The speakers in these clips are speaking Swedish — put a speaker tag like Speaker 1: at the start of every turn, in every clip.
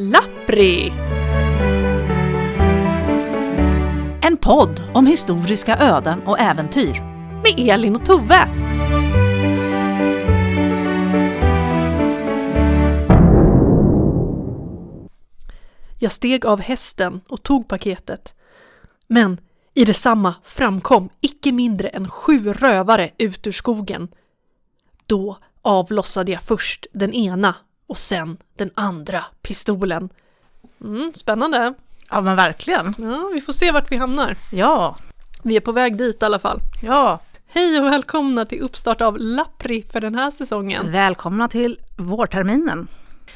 Speaker 1: Capri.
Speaker 2: En podd om historiska öden och äventyr.
Speaker 1: Med Elin och Tove. Jag steg av hästen och tog paketet. Men i detsamma framkom icke mindre än sju rövare ut ur skogen. Då avlossade jag först den ena och sen den andra pistolen. Mm, spännande.
Speaker 2: Ja men verkligen.
Speaker 1: Ja, vi får se vart vi hamnar.
Speaker 2: Ja,
Speaker 1: Vi är på väg dit i alla fall.
Speaker 2: ja.
Speaker 1: Hej och välkomna till uppstart av Lappri för den här säsongen.
Speaker 2: Välkomna till vårterminen.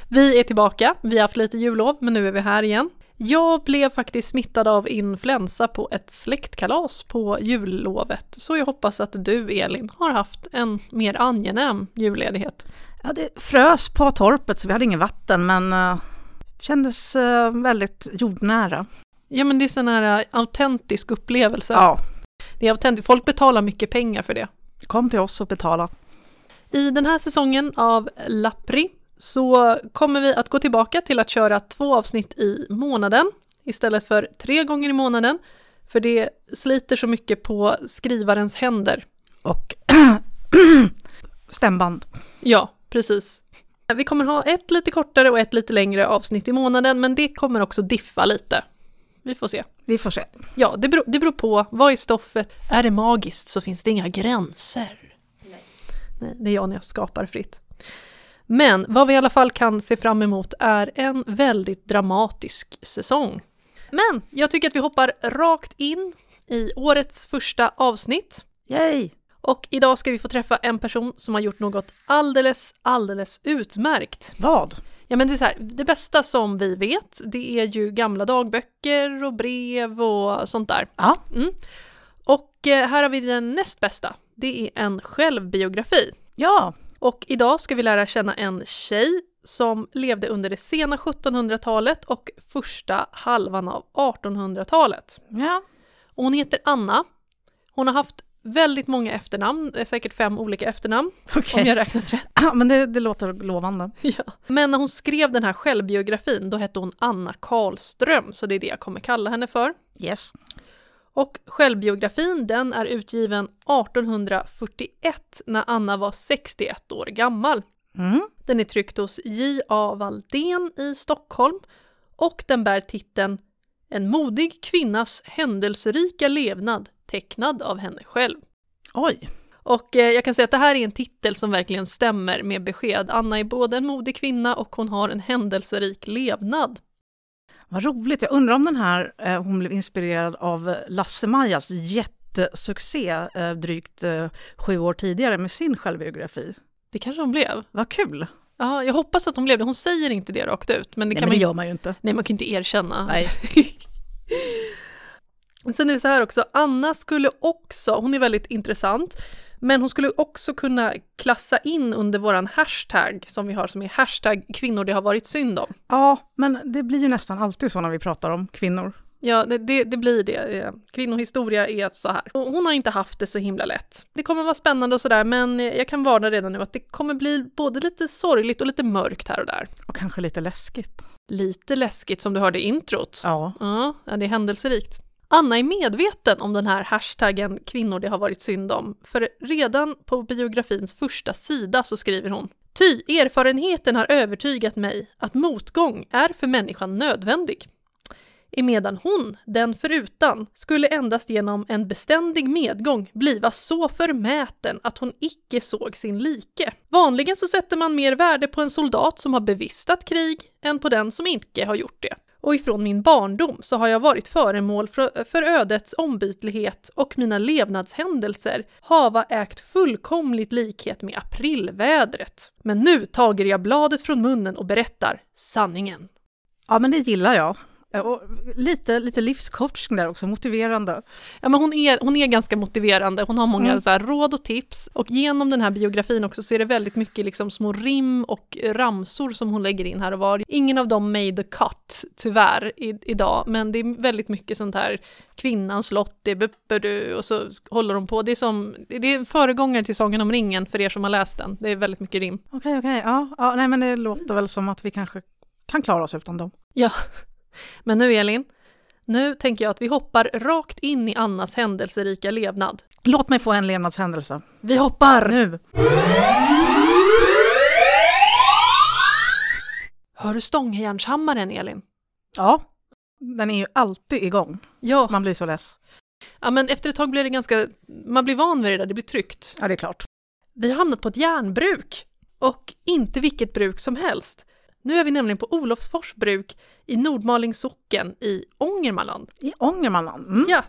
Speaker 1: Vi är tillbaka, vi har haft lite jullov men nu är vi här igen. Jag blev faktiskt smittad av influensa på ett släktkalas på jullovet så jag hoppas att du Elin har haft en mer angenäm julledighet.
Speaker 2: Ja, det frös på torpet så vi hade inget vatten men eh, kändes eh, väldigt jordnära.
Speaker 1: Ja men det är sån här äh, autentisk upplevelse.
Speaker 2: Ja,
Speaker 1: Det är autentiskt, folk betalar mycket pengar för det.
Speaker 2: kom till oss och betala.
Speaker 1: I den här säsongen av Lappri så kommer vi att gå tillbaka till att köra två avsnitt i månaden istället för tre gånger i månaden. För det sliter så mycket på skrivarens händer.
Speaker 2: Och stämband.
Speaker 1: Ja, precis. Vi kommer ha ett lite kortare och ett lite längre avsnitt i månaden, men det kommer också diffa lite. Vi får se.
Speaker 2: Vi får se.
Speaker 1: Ja, det beror, det beror på. Vad är stoffet? Är det magiskt så finns det inga gränser. Nej. det är jag när jag skapar fritt. Men vad vi i alla fall kan se fram emot är en väldigt dramatisk säsong. Men jag tycker att vi hoppar rakt in i årets första avsnitt.
Speaker 2: Yay!
Speaker 1: Och idag ska vi få träffa en person som har gjort något alldeles, alldeles utmärkt.
Speaker 2: Vad?
Speaker 1: Ja, men det är så här, det bästa som vi vet, det är ju gamla dagböcker och brev och sånt där.
Speaker 2: Ja,
Speaker 1: Och eh, här har vi den näst bästa. Det är en självbiografi.
Speaker 2: ja,
Speaker 1: Och idag ska vi lära känna en tjej som levde under det sena 1700-talet och första halvan av 1800-talet.
Speaker 2: ja.
Speaker 1: Och Hon heter Anna. Hon har haft väldigt många efternamn, eh, säkert fem olika efternamn
Speaker 2: Okej.
Speaker 1: om jag räknat rätt.
Speaker 2: Ja, men det, det låter lovande.
Speaker 1: Ja. Men när hon skrev den här självbiografin då hette hon Anna Karlström, så det är det jag kommer kalla henne för.
Speaker 2: Yes.
Speaker 1: Och självbiografin den är utgiven 1841 när Anna var 61 år gammal.
Speaker 2: Mm.
Speaker 1: Den är tryckt hos J.A. Valdén i Stockholm och den bär titeln En modig kvinnas händelserika levnad tecknad av henne själv.
Speaker 2: Oj.
Speaker 1: Och eh, jag kan säga att det här är en titel som verkligen stämmer med besked. Anna är både en modig kvinna och hon har en händelserik levnad.
Speaker 2: Vad roligt. Jag undrar om den här, eh, hon blev inspirerad av Lasse-Majas jättesuccé eh, drygt eh, sju år tidigare med sin självbiografi.
Speaker 1: Det kanske hon blev.
Speaker 2: Vad kul!
Speaker 1: Ja, jag hoppas att hon blev det. Hon säger inte det rakt ut, men det
Speaker 2: Nej,
Speaker 1: kan
Speaker 2: men det
Speaker 1: man ju
Speaker 2: gör man ju inte.
Speaker 1: Nej, man kan inte erkänna.
Speaker 2: Nej.
Speaker 1: Sen är det så här också, Anna skulle också, hon är väldigt intressant, men hon skulle också kunna klassa in under våran hashtag som vi har som är hashtag kvinnor det har varit synd om.
Speaker 2: Ja, men det blir ju nästan alltid så när vi pratar om kvinnor.
Speaker 1: Ja, det- det, det blir det. Eh, Kvinnohistoria är så här. Och Hon har inte haft det så himla lätt. Det kommer vara spännande och sådär, men jag kan varna redan nu att det kommer bli både lite sorgligt och lite mörkt här och där.
Speaker 2: Och kanske lite läskigt.
Speaker 1: Lite läskigt som du hörde i introt.
Speaker 2: Ja.
Speaker 1: Ja, ja, det är händelserikt. Anna är medveten om den här hashtaggen kvinnor det har varit synd om, för redan på biografins första sida så skriver hon Ty erfarenheten har övertygat mig att motgång är för människan nödvändig. Emedan hon, den förutan, skulle endast genom en beständig medgång bliva så förmäten att hon icke såg sin like. Vanligen så sätter man mer värde på en soldat som har bevistat krig än på den som icke har gjort det. Och ifrån min barndom så har jag varit föremål för, för ödets ombytlighet och mina levnadshändelser hava ägt fullkomligt likhet med aprilvädret. Men nu tager jag bladet från munnen och berättar sanningen.
Speaker 2: Ja, men det gillar jag. Eh, Och lite, lite livscoaching där också, motiverande.
Speaker 1: Ja, men hon, är, hon är ganska motiverande, hon har många
Speaker 2: Mm.
Speaker 1: så här, råd och tips. Och genom den här biografin också så är det väldigt mycket liksom, små rim och ramsor som hon lägger in här och var. Ingen av dem made the cut, tyvärr, i, idag. Men det är väldigt mycket sånt här kvinnans lott, det är buppe du och så håller hon på. Det är, som, det är en föregångare till Sången om ringen för er som har läst den. Det är väldigt mycket rim.
Speaker 2: Okej, okej. Ja, ja, nej, men det låter väl som att vi kanske kan klara oss utan dem.
Speaker 1: Ja, men nu Elin, nu tänker jag att vi hoppar rakt in i Annas händelserika levnad.
Speaker 2: Låt mig få en levnadshändelse.
Speaker 1: Vi hoppar!
Speaker 2: Nu!
Speaker 1: Hör du stångjärnshammaren Elin?
Speaker 2: Ja, den är ju alltid igång.
Speaker 1: Ja.
Speaker 2: Man blir så less.
Speaker 1: ja, men efter ett tag blir det ganska, man blir van vid det där, det blir tryggt.
Speaker 2: Ja, det är klart.
Speaker 1: Vi har hamnat på ett järnbruk. Och inte vilket bruk som helst. Nu är vi nämligen på Olofsfors bruk i Nordmalings socken i Ångermanland.
Speaker 2: I Ångermanland. Mm.
Speaker 1: Ja,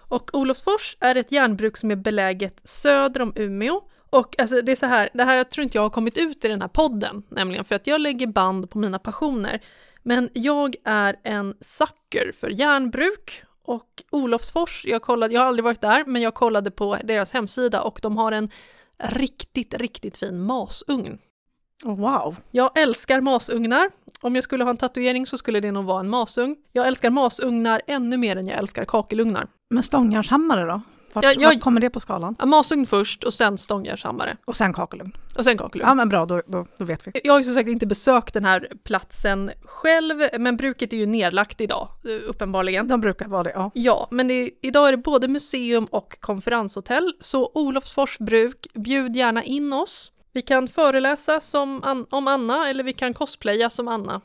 Speaker 1: och Olofsfors är ett järnbruk som är beläget söder om Umeå. Och alltså, det är så här, det här tror inte jag har kommit ut i den här podden, nämligen för att jag lägger band på mina passioner. Men jag är en sucker för järnbruk och Olofsfors, jag kollade, jag har aldrig varit där, men jag kollade på deras hemsida och de har en riktigt, riktigt fin masugn.
Speaker 2: Oh, wow.
Speaker 1: Jag älskar masugnar. Om jag skulle ha en tatuering så skulle det nog vara en masugn. Jag älskar masugnar ännu mer än jag älskar kakelugnar.
Speaker 2: Men stångjärnshammare då? Vart,
Speaker 1: Ja, jag-
Speaker 2: vart kommer det på skalan?
Speaker 1: Ja, Masugn först och sen stångjärnshammare
Speaker 2: Och sen kakelugn.
Speaker 1: och sen kakelugn.
Speaker 2: Ja, men bra, då, då, då vet vi.
Speaker 1: Jag har ju som sagt inte besökt den här platsen själv, men bruket är ju nedlagt idag, eh, uppenbarligen.
Speaker 2: De brukar vara det, ja.
Speaker 1: Ja, men det, idag är det både museum och konferenshotell, så Olofsfors bruk, bjud gärna in oss. Vi kan föreläsa som an- om Anna eller vi kan cosplaya som Anna.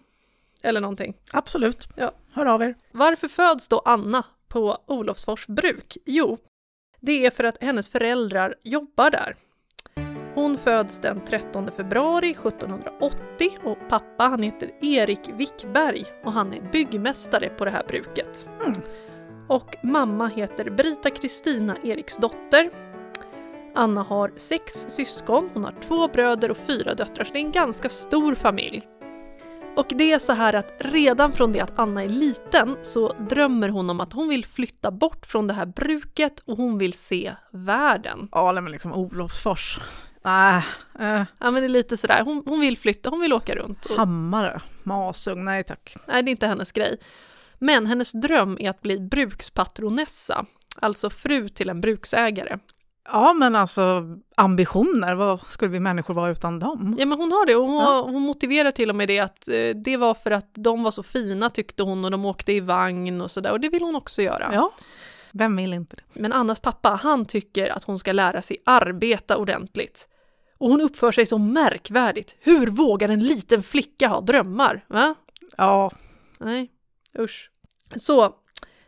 Speaker 1: Eller någonting.
Speaker 2: Absolut.
Speaker 1: Ja.
Speaker 2: Hör av er.
Speaker 1: Varför föds då Anna på Olofsfors bruk? Jo, det är för att hennes föräldrar jobbar där. Hon föds den 13 februari 1780 och pappa han heter Erik Wickberg och han är byggmästare på det här bruket.
Speaker 2: Mm.
Speaker 1: Och mamma heter Brita Kristina Eriksdotter. Anna har sex syskon, hon har två bröder och fyra döttrar, så det är en ganska stor familj. Och det är så här att redan från det att Anna är liten så drömmer hon om att hon vill flytta bort från det här bruket och hon vill se världen.
Speaker 2: Ja, nej, men liksom Olofsfors. Nej, eh,
Speaker 1: Ja men det är lite sådär, hon, hon vill flytta, hon vill åka runt. Och,
Speaker 2: Hammare, Masugn, nej tack.
Speaker 1: nej, det är inte hennes grej. Men hennes dröm är att bli brukspatronessa, alltså fru till en bruksägare.
Speaker 2: Ja, men alltså ambitioner, vad skulle vi människor vara utan dem?
Speaker 1: Ja men hon har det och hon,
Speaker 2: Ja.
Speaker 1: hon motiverar till och med det att eh, det var för att de var så fina tyckte hon och de åkte i vagn och sådär och det vill hon också göra.
Speaker 2: Ja. Vem vill inte det?
Speaker 1: Men Annas pappa, han tycker att hon ska lära sig arbeta ordentligt. Och hon uppför sig så märkvärdigt. Hur vågar en liten flicka ha drömmar? Va?
Speaker 2: Ja,
Speaker 1: Nej, usch. Så,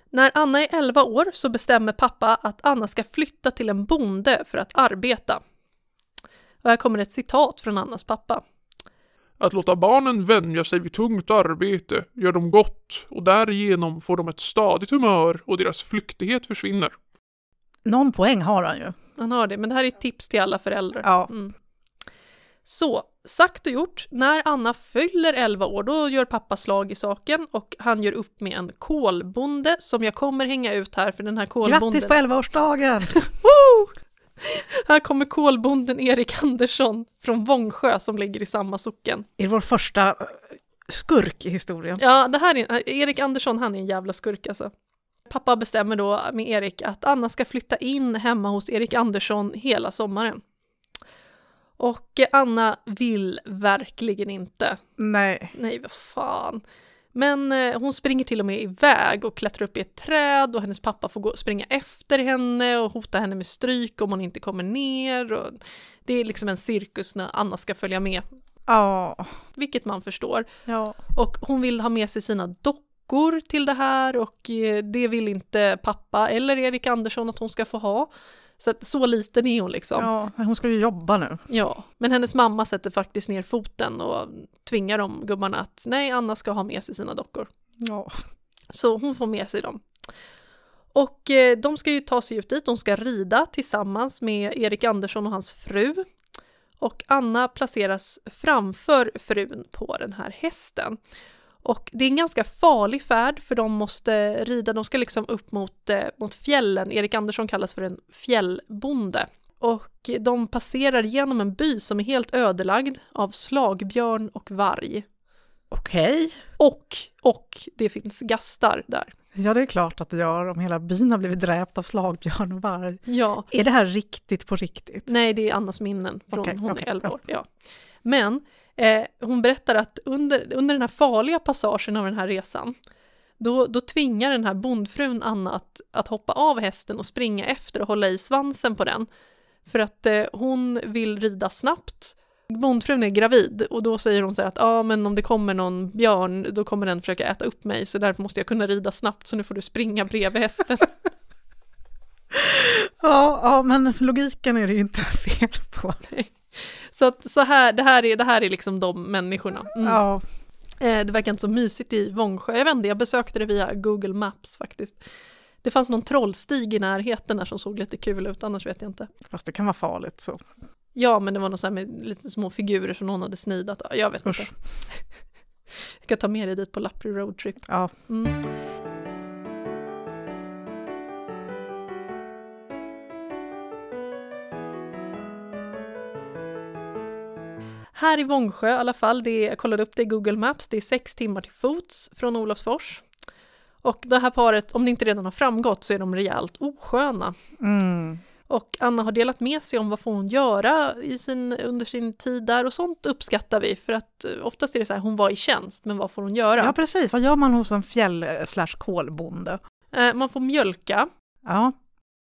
Speaker 1: när Anna är 11 år så bestämmer pappa att Anna ska flytta till en bonde för att arbeta. Och här kommer ett citat från Annas pappa.
Speaker 3: Att låta barnen vänja sig vid tungt arbete gör dem gott och därigenom får de ett stadigt humör och deras flyktighet försvinner.
Speaker 2: någon poäng har han ju.
Speaker 1: Han har det, men det här är ett tips till alla föräldrar.
Speaker 2: Ja.
Speaker 1: Mm. Så, sagt och gjort, när Anna fyller 11 år då gör pappa slag i saken och han gör upp med en kolbonde som jag kommer hänga ut här för den här kolbonden.
Speaker 2: Grattis på 11-årsdagen!
Speaker 1: Här kommer kolbonden Erik Andersson från Vångsjö som ligger i samma socken.
Speaker 2: är vår första eh, skurk i historien.
Speaker 1: Ja, det här är, äh, Erik Andersson han är en jävla skurk alltså. Pappa bestämmer då med Erik att Anna ska flytta in hemma hos Erik Andersson hela sommaren. Och eh, Anna vill verkligen inte.
Speaker 2: Nej,
Speaker 1: Nej, vad fan. Men eh, hon springer till och med iväg och klättrar upp i ett träd och hennes pappa får gå, springa efter henne och hota henne med stryk om hon inte kommer ner. Och det är liksom en cirkus när Anna ska följa med,
Speaker 2: ja,
Speaker 1: vilket man förstår.
Speaker 2: ja.
Speaker 1: Och hon vill ha med sig sina dockor till det här och eh, det vill inte pappa eller Erik Andersson att hon ska få ha. Så att så liten är hon liksom. Ja.
Speaker 2: ja. Hon ska ju jobba nu.
Speaker 1: Men hennes mamma sätter faktiskt ner foten och tvingar de gubbarna att nej, Anna ska ha med sig sina dockor.
Speaker 2: Ja.
Speaker 1: Så hon får med sig dem. Och eh, de ska ju ta sig ut dit, de ska rida tillsammans med Erik Andersson och hans fru. Och Anna placeras framför frun på den här hästen. Och det är en ganska farlig färd för de måste rida, de ska liksom upp mot, eh, mot fjällen. Erik Andersson kallas för en fjällbonde. Och de passerar genom en by som är helt ödelagd av slagbjörn och varg.
Speaker 2: Okej.
Speaker 1: Och, och det finns gastar där.
Speaker 2: Ja, det är klart att det gör om hela byn har blivit dräpt av slagbjörn och varg.
Speaker 1: Ja.
Speaker 2: Är det här riktigt på riktigt?
Speaker 1: Nej, det är Annas minnen från
Speaker 2: Okej,
Speaker 1: hon
Speaker 2: okej,
Speaker 1: är 11
Speaker 2: ja.
Speaker 1: år. Ja. Men Eh, hon berättar att under, under den här farliga passagen av den här resan, då, då tvingar den här bondfrun Anna att, att hoppa av hästen och springa efter och hålla i svansen på den. För att eh, hon vill rida snabbt. Bondfrun är gravid och då säger hon så här att ja ah, men om det kommer någon björn då kommer den försöka äta upp mig så därför måste jag kunna rida snabbt så nu får du springa bredvid hästen.
Speaker 2: Ja, ja, men logiken är det ju inte fel på.
Speaker 1: så att så här, det här är, det här är liksom de människorna. Mm.
Speaker 2: Ja,
Speaker 1: Eh, Det verkar inte så mysigt i Vångsjö. Jag vet inte, jag besökte det via Google Maps faktiskt. Det fanns någon trollstig i närheten där som såg lite kul ut, annars vet jag inte.
Speaker 2: fast det kan vara farligt så.
Speaker 1: Ja, men det var något så här med lite små figurer som någon hade snidat. Jag vet
Speaker 2: Usch.
Speaker 1: inte. Jag ska ta med dig dit på Lappri Roadtrip.
Speaker 2: Ja,
Speaker 1: Mm. Här i Vångsjö i alla fall, det är, jag kollade upp det i Google Maps, det är sex timmar till fots från Olofsfors. Och det här paret, om det inte redan har framgått, så är de rejält osköna.
Speaker 2: mm.
Speaker 1: Och Anna har delat med sig om vad får hon göra i sin, under sin tid där och sånt uppskattar vi för att eh, oftast är det så här, hon var i tjänst, men vad får hon göra?
Speaker 2: ja precis. Vad gör man hos en fjäll eh, slash kolbonde?
Speaker 1: Eh, man får mjölka,
Speaker 2: Ja,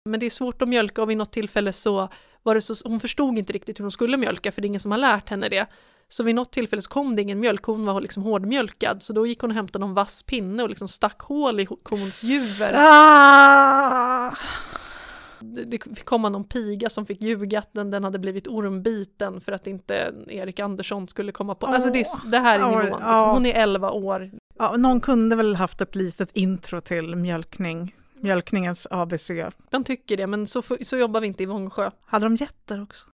Speaker 1: Men det är svårt att mjölka och vid något tillfälle så var det så, hon förstod inte riktigt hur hon skulle mjölka för det är ingen som har lärt henne det. Så vid något tillfälle så kom det ingen mjölk, hon var liksom hårdmjölkad. Så då gick hon och hämtade någon vass pinne och liksom stack hål i ho- kons juver.
Speaker 2: Ah!
Speaker 1: Det, det kom någon piga som fick ljuga att den, den hade blivit ormbiten för att inte Erik Andersson skulle komma på. Alltså det, är s- det här är
Speaker 2: Åh,
Speaker 1: nivån.
Speaker 2: ja.
Speaker 1: Liksom. Hon är 11 år.
Speaker 2: Ja, någon kunde väl haft ett litet intro till mjölkning, mjölkningens ABC.
Speaker 1: Man tycker det, men så, f- så jobbar vi inte i Vångsjö.
Speaker 2: Hade de getter också?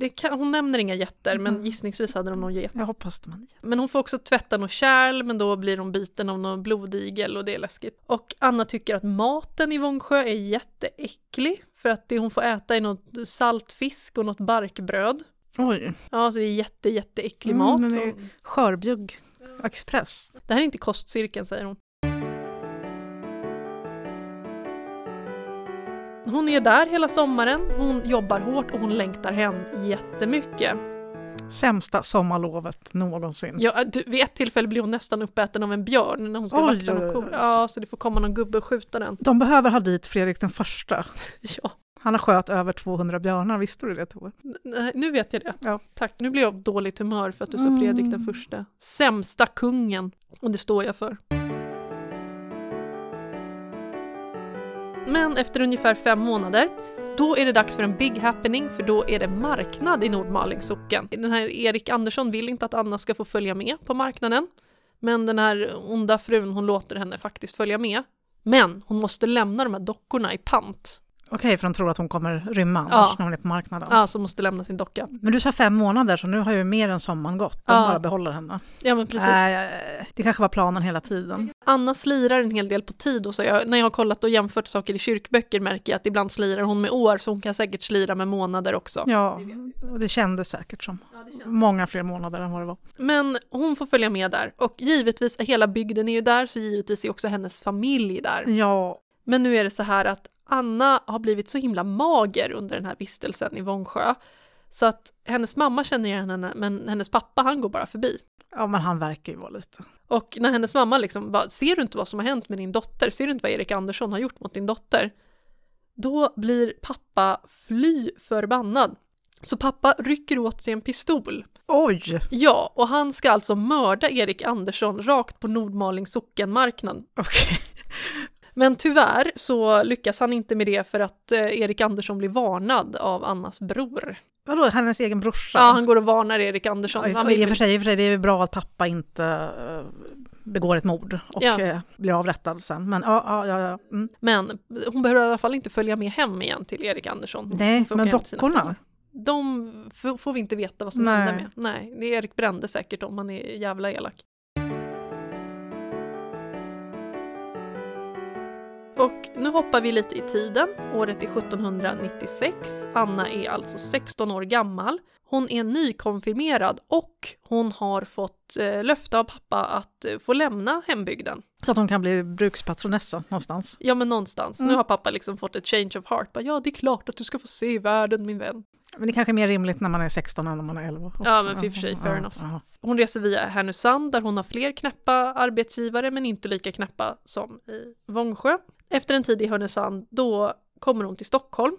Speaker 1: Det kan, hon nämner inga jätter, men
Speaker 2: Mm.
Speaker 1: gissningsvis hade de någon get.
Speaker 2: Jag hoppas det. Man...
Speaker 1: Men hon får också tvätta något kärl, men då blir hon biten av någon blodigel och det är läskigt. Och Anna tycker att maten i Vångsjö är jätteäcklig, för att det hon får äta är något salt fisk och något barkbröd.
Speaker 2: Oj,
Speaker 1: Ja, så det är jätte, jätteäcklig
Speaker 2: Mm,
Speaker 1: mat.
Speaker 2: men det är-
Speaker 1: Och
Speaker 2: skörbjugg express.
Speaker 1: Det här är inte kostcirkeln, säger hon. Hon är där hela sommaren, hon jobbar hårt och hon längtar hem jättemycket.
Speaker 2: Sämsta sommarlovet någonsin.
Speaker 1: Ja, äh, du, vid ett tillfälle blir hon nästan uppäten av en björn när hon ska
Speaker 2: Oj,
Speaker 1: vakta
Speaker 2: oj,
Speaker 1: någon ko.
Speaker 2: oj.
Speaker 1: Ja, så det får komma någon gubbe och skjuta den.
Speaker 2: De behöver ha dit Fredrik den första.
Speaker 1: Ja,
Speaker 2: Han har sköt över 200 björnar, visste du det Tove?
Speaker 1: nej, nu vet jag det.
Speaker 2: Ja.
Speaker 1: Tack, nu blir jag av dåligt humör för att du sa Fredrik den första. Sämsta kungen, och det står jag för. Men efter ungefär fem månader, då är det dags för en big happening för då är det marknad i Nordmalings socken. Den här Erik Andersson vill inte att Anna ska få följa med på marknaden. Men den här onda frun, hon låter henne faktiskt följa med. Men hon måste lämna de här dockorna i pant.
Speaker 2: Okej, för de tror att hon kommer rymma annars
Speaker 1: Ja.
Speaker 2: när hon är på marknaden.
Speaker 1: Alltså måste lämna sin docka.
Speaker 2: Men du sa fem månader, så nu har ju mer än sommaren gått. De
Speaker 1: Ja.
Speaker 2: bara behåller henne.
Speaker 1: Ja men
Speaker 2: Äh,
Speaker 1: precis.
Speaker 2: Nej, eh, det kanske var planen hela tiden.
Speaker 1: Anna slirar en hel del på tid och så jag, när jag har kollat och jämfört saker i kyrkböcker märker jag att ibland slirar hon med år så hon kan säkert slira med månader också.
Speaker 2: Ja, och det kändes säkert som många fler månader än vad det var.
Speaker 1: Men hon får följa med där och givetvis, hela bygden är ju där så givetvis är också hennes familj där.
Speaker 2: Ja,
Speaker 1: Men nu är det så här att Anna har blivit så himla mager under den här vistelsen i Vångsjö så att hennes mamma känner igen henne men hennes pappa han går bara förbi.
Speaker 2: ja, men han verkar ju vara lite...
Speaker 1: Och när hennes mamma liksom bara, ser du inte vad som har hänt med din dotter? Ser du inte vad Erik Andersson har gjort mot din dotter? Då blir pappa fly förbannad. Så pappa rycker åt sig en pistol.
Speaker 2: Oj!
Speaker 1: Ja, och han ska alltså mörda Erik Andersson rakt på Nordmalings sockenmarknad.
Speaker 2: Okej.
Speaker 1: Men tyvärr så lyckas han inte med det för att eh, Erik Andersson blir varnad av Annas bror.
Speaker 2: Vadå, hennes egen brorsa?
Speaker 1: Ja, han går och varnar Erik
Speaker 2: Ja, i-
Speaker 1: Andersson. Han
Speaker 2: och i, och för
Speaker 1: vill...
Speaker 2: sig, i och för sig, det är ju bra att pappa inte eh, begår ett mord och
Speaker 1: Ja.
Speaker 2: eh, blir avrättad sen. Men ja, ja, ja. ja. Mm.
Speaker 1: Men hon behöver i alla fall inte följa med hem igen till Erik Andersson. Hon
Speaker 2: Nej,
Speaker 1: får åka
Speaker 2: men
Speaker 1: hem till sina föräldrar.
Speaker 2: dockorna?
Speaker 1: De f- får vi inte veta vad som
Speaker 2: Nej.
Speaker 1: hände med. Nej, det är Erik brände säkert om han är jävla elak. Och nu hoppar vi lite i tiden. Året är 1796. Anna är alltså 16 år gammal. Hon är nykonfirmerad och hon har fått eh, löfte av pappa att eh, få lämna hembygden.
Speaker 2: Så att hon kan bli brukspatronessa någonstans.
Speaker 1: Ja men någonstans. Nu har pappa liksom fått ett change of heart. Bara, ja det är klart att du ska få se världen min vän.
Speaker 2: Men det kanske är mer rimligt när man är 16 än när man är 11. Också.
Speaker 1: Ja, men i och för sig, fair enough.
Speaker 2: ja.
Speaker 1: Hon reser via Härnösand där hon har fler knäppa arbetsgivare men inte lika knäppa som i Vångsjö. Efter en tid i Härnösand då kommer hon till Stockholm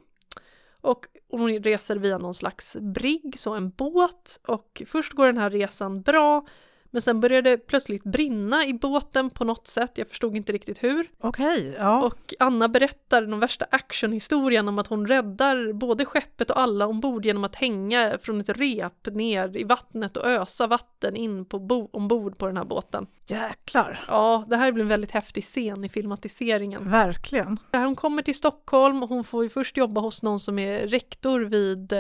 Speaker 1: och hon reser via någon slags brigg, så en båt och först går den här resan bra men sen började det plötsligt brinna i båten på något sätt, jag förstod inte riktigt hur.
Speaker 2: Okej, ja.
Speaker 1: Och Anna berättar den värsta actionhistorien om att hon räddar både skeppet och alla ombord genom att hänga från ett rep ner i vattnet och ösa vatten in på bo- ombord på den här båten.
Speaker 2: Jäklar,
Speaker 1: Ja, det här blir en väldigt häftig scen i filmatiseringen.
Speaker 2: verkligen.
Speaker 1: Hon kommer till Stockholm och hon får ju först jobba hos någon som är rektor vid eh,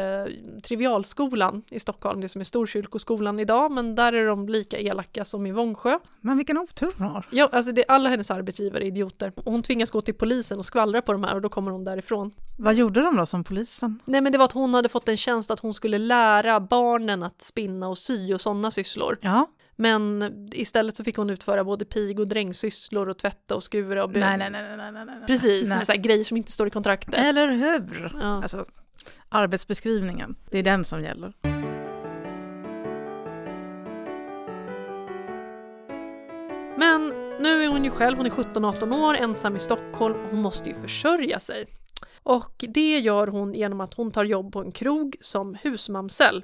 Speaker 1: Trivialskolan i Stockholm, det som är Storkyrkoskolan idag, men där är de lika elaka som i Vångsjö.
Speaker 2: Men vilken otur hon har.
Speaker 1: Ja, alltså det, alla hennes arbetsgivare är idioter. Och hon tvingas gå till polisen och skvallra på de här och då kommer hon därifrån.
Speaker 2: Vad gjorde de då som polisen?
Speaker 1: Nej men det var att hon hade fått en tjänst att hon skulle lära barnen att spinna och sy och sådana sysslor.
Speaker 2: Ja,
Speaker 1: Men istället så fick hon utföra både pig och drängsysslor och tvätta och skura och bö-
Speaker 2: nej, nej, nej, nej, nej, nej. nej.
Speaker 1: Precis,
Speaker 2: Nej.
Speaker 1: Så här, grejer som inte står i kontraktet.
Speaker 2: Eller hur?
Speaker 1: Ja.
Speaker 2: Alltså, arbetsbeskrivningen, det är den som gäller.
Speaker 1: Men nu är hon ju själv, hon är 17-18 år, ensam i Stockholm och hon måste ju försörja sig. Och det gör hon genom att hon tar jobb på en krog som husmamsell.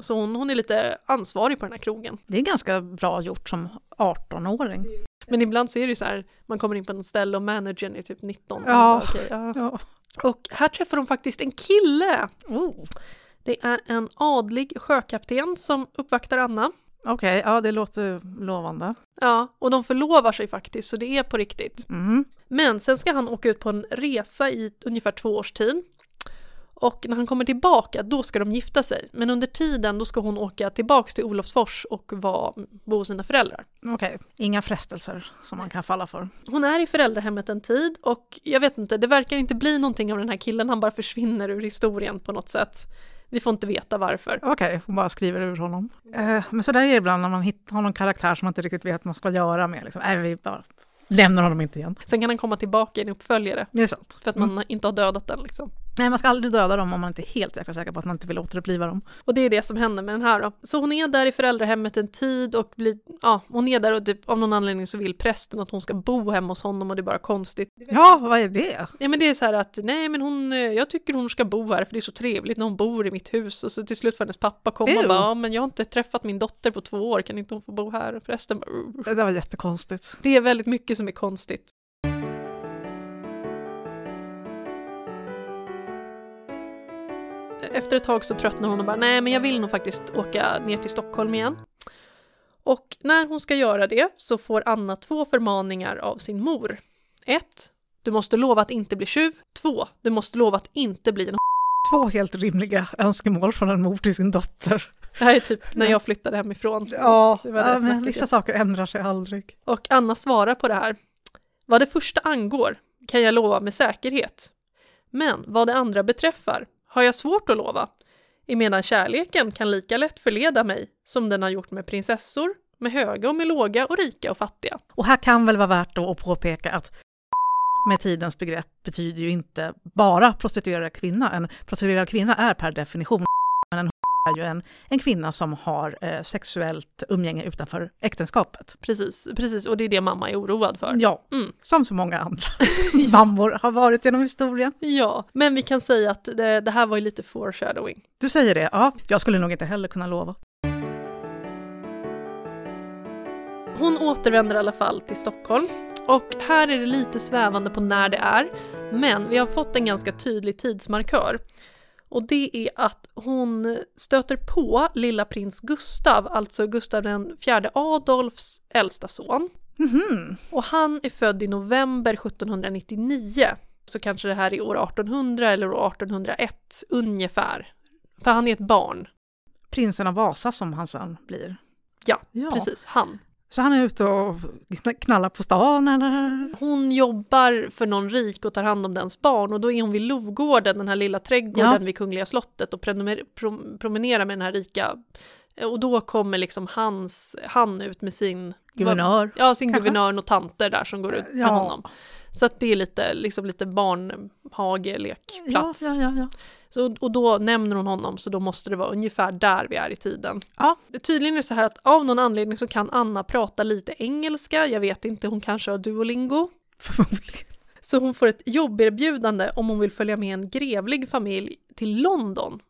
Speaker 1: Så hon, hon är lite ansvarig på den här krogen.
Speaker 2: Det är ganska bra gjort som 18-åring.
Speaker 1: Men ibland så är det ju så här, man kommer in på något ställe och managern är typ 19.
Speaker 2: Ja.
Speaker 1: Och, bara, okej, ja.
Speaker 2: Ja.
Speaker 1: och här träffar hon faktiskt en kille.
Speaker 2: Oh.
Speaker 1: Det är en adlig sjökapten som uppvaktar Anna.
Speaker 2: Okej, ja det låter lovande.
Speaker 1: Ja, och de förlovar sig faktiskt, så det är på riktigt.
Speaker 2: Mm.
Speaker 1: Men sen ska han åka ut på en resa i ungefär två års tid. Och när han kommer tillbaka, då ska de gifta sig. Men under tiden, då ska hon åka tillbaka till Olofsfors och vara, bo hos sina föräldrar.
Speaker 2: Okej, inga frestelser som man kan falla för.
Speaker 1: Hon är i föräldrahemmet en tid och jag vet inte, det verkar inte bli någonting av den här killen, han bara försvinner ur historien på något sätt. Vi får inte veta varför.
Speaker 2: Okej, hon bara skriver ur honom. Eh, men så där är det ibland när man hittar har någon karaktär som man inte riktigt vet vad man ska göra med. Liksom. Nej, vi bara lämnar honom inte igen.
Speaker 1: Sen kan han komma tillbaka i en uppföljare,
Speaker 2: Det är sant.
Speaker 1: för att man inte har dödat den liksom.
Speaker 2: Nej, man ska aldrig döda dem om man inte är helt jäkla säker på att man inte vill återuppliva dem.
Speaker 1: Och det är det som händer med den här då. Så hon är där i föräldrahemmet en tid och blir, ja, hon är där och typ, av någon anledning så vill prästen att hon ska bo hemma hos honom och det är bara konstigt.
Speaker 2: Ja, vad är det?
Speaker 1: Ja men det är så här att, nej men hon, eh, jag tycker hon ska bo här för det är så trevligt när hon bor i mitt hus och så till slut får hennes pappa komma och
Speaker 2: Ew.
Speaker 1: bara, ja men jag har inte träffat min dotter på två år, kan inte hon få bo här? Och prästen bara, "Ur."
Speaker 2: Det där var jättekonstigt.
Speaker 1: det är väldigt mycket som är konstigt. Efter ett tag så tröttnar hon och bara, nej men jag vill nog faktiskt åka ner till Stockholm igen. Och när hon ska göra det så får Anna två förmaningar av sin mor. Ett, Du måste lova att inte bli tjuv. Två, Du måste lova att inte bli en
Speaker 2: Två helt rimliga önskemål från en mor till sin dotter.
Speaker 1: Det här är typ när jag flyttade hemifrån.
Speaker 2: Ja,
Speaker 1: Det var det
Speaker 2: men
Speaker 1: snacket,
Speaker 2: vissa
Speaker 1: ja.
Speaker 2: saker ändrar sig aldrig.
Speaker 1: Och Anna svarar på det här. Vad det första angår kan jag lova med säkerhet. Men vad det andra beträffar har jag svårt att lova. Emedan kärleken kan lika lätt förleda mig som den har gjort med prinsessor, med höga och med låga och rika och fattiga.
Speaker 2: Och här kan väl vara värt då att påpeka att med tidens begrepp betyder ju inte bara prostituerad kvinna. En prostituerad kvinna är per definition men en är ju en, en kvinna som har eh, sexuellt umgänge utanför äktenskapet.
Speaker 1: Precis, precis, och det är det mamma är oroad för.
Speaker 2: Ja,
Speaker 1: Mm.
Speaker 2: som så många andra mammor har varit genom historien.
Speaker 1: Ja, men vi kan säga att det, det här var ju lite foreshadowing.
Speaker 2: Du säger det, ja, jag skulle nog inte heller kunna lova.
Speaker 1: Hon återvänder i alla fall till Stockholm och här är det lite svävande på när det är, men vi har fått en ganska tydlig tidsmarkör. Och det är att hon stöter på lilla prins Gustav, alltså Gustav den fjärde Adolfs äldsta son.
Speaker 2: Mhm.
Speaker 1: Och han är född i november 1799, så kanske det här är år 1800 eller år 1801 ungefär. För han är ett barn.
Speaker 2: Prinsen av Vasa som hans son blir.
Speaker 1: Ja,
Speaker 2: Ja.
Speaker 1: precis, han.
Speaker 2: Så han är ute och knallar på stan eller?
Speaker 1: Hon jobbar för någon rik och tar hand om dens barn och då är hon vid Lovgården, den här lilla trädgården
Speaker 2: Ja.
Speaker 1: vid Kungliga slottet och prenumer- prom- promenerar med den här rika Och då kommer liksom hans, han ut med sin
Speaker 2: Guvernör.
Speaker 1: Ja, sin
Speaker 2: Kanske.
Speaker 1: guvernörn och tanter där som går ut med
Speaker 2: Ja.
Speaker 1: honom. Så att det är lite, liksom lite barnhagelekplats.
Speaker 2: Ja, ja, ja, ja.
Speaker 1: Så, och då nämner hon honom, så då måste det vara ungefär där vi är i tiden.
Speaker 2: Ja.
Speaker 1: Det tydligen är det så här att av någon anledning så kan Anna prata lite engelska, jag vet inte, hon kanske har Duolingo.
Speaker 2: Förmodligen.
Speaker 1: Så hon får ett jobberbjudande om hon vill följa med en grevlig familj till London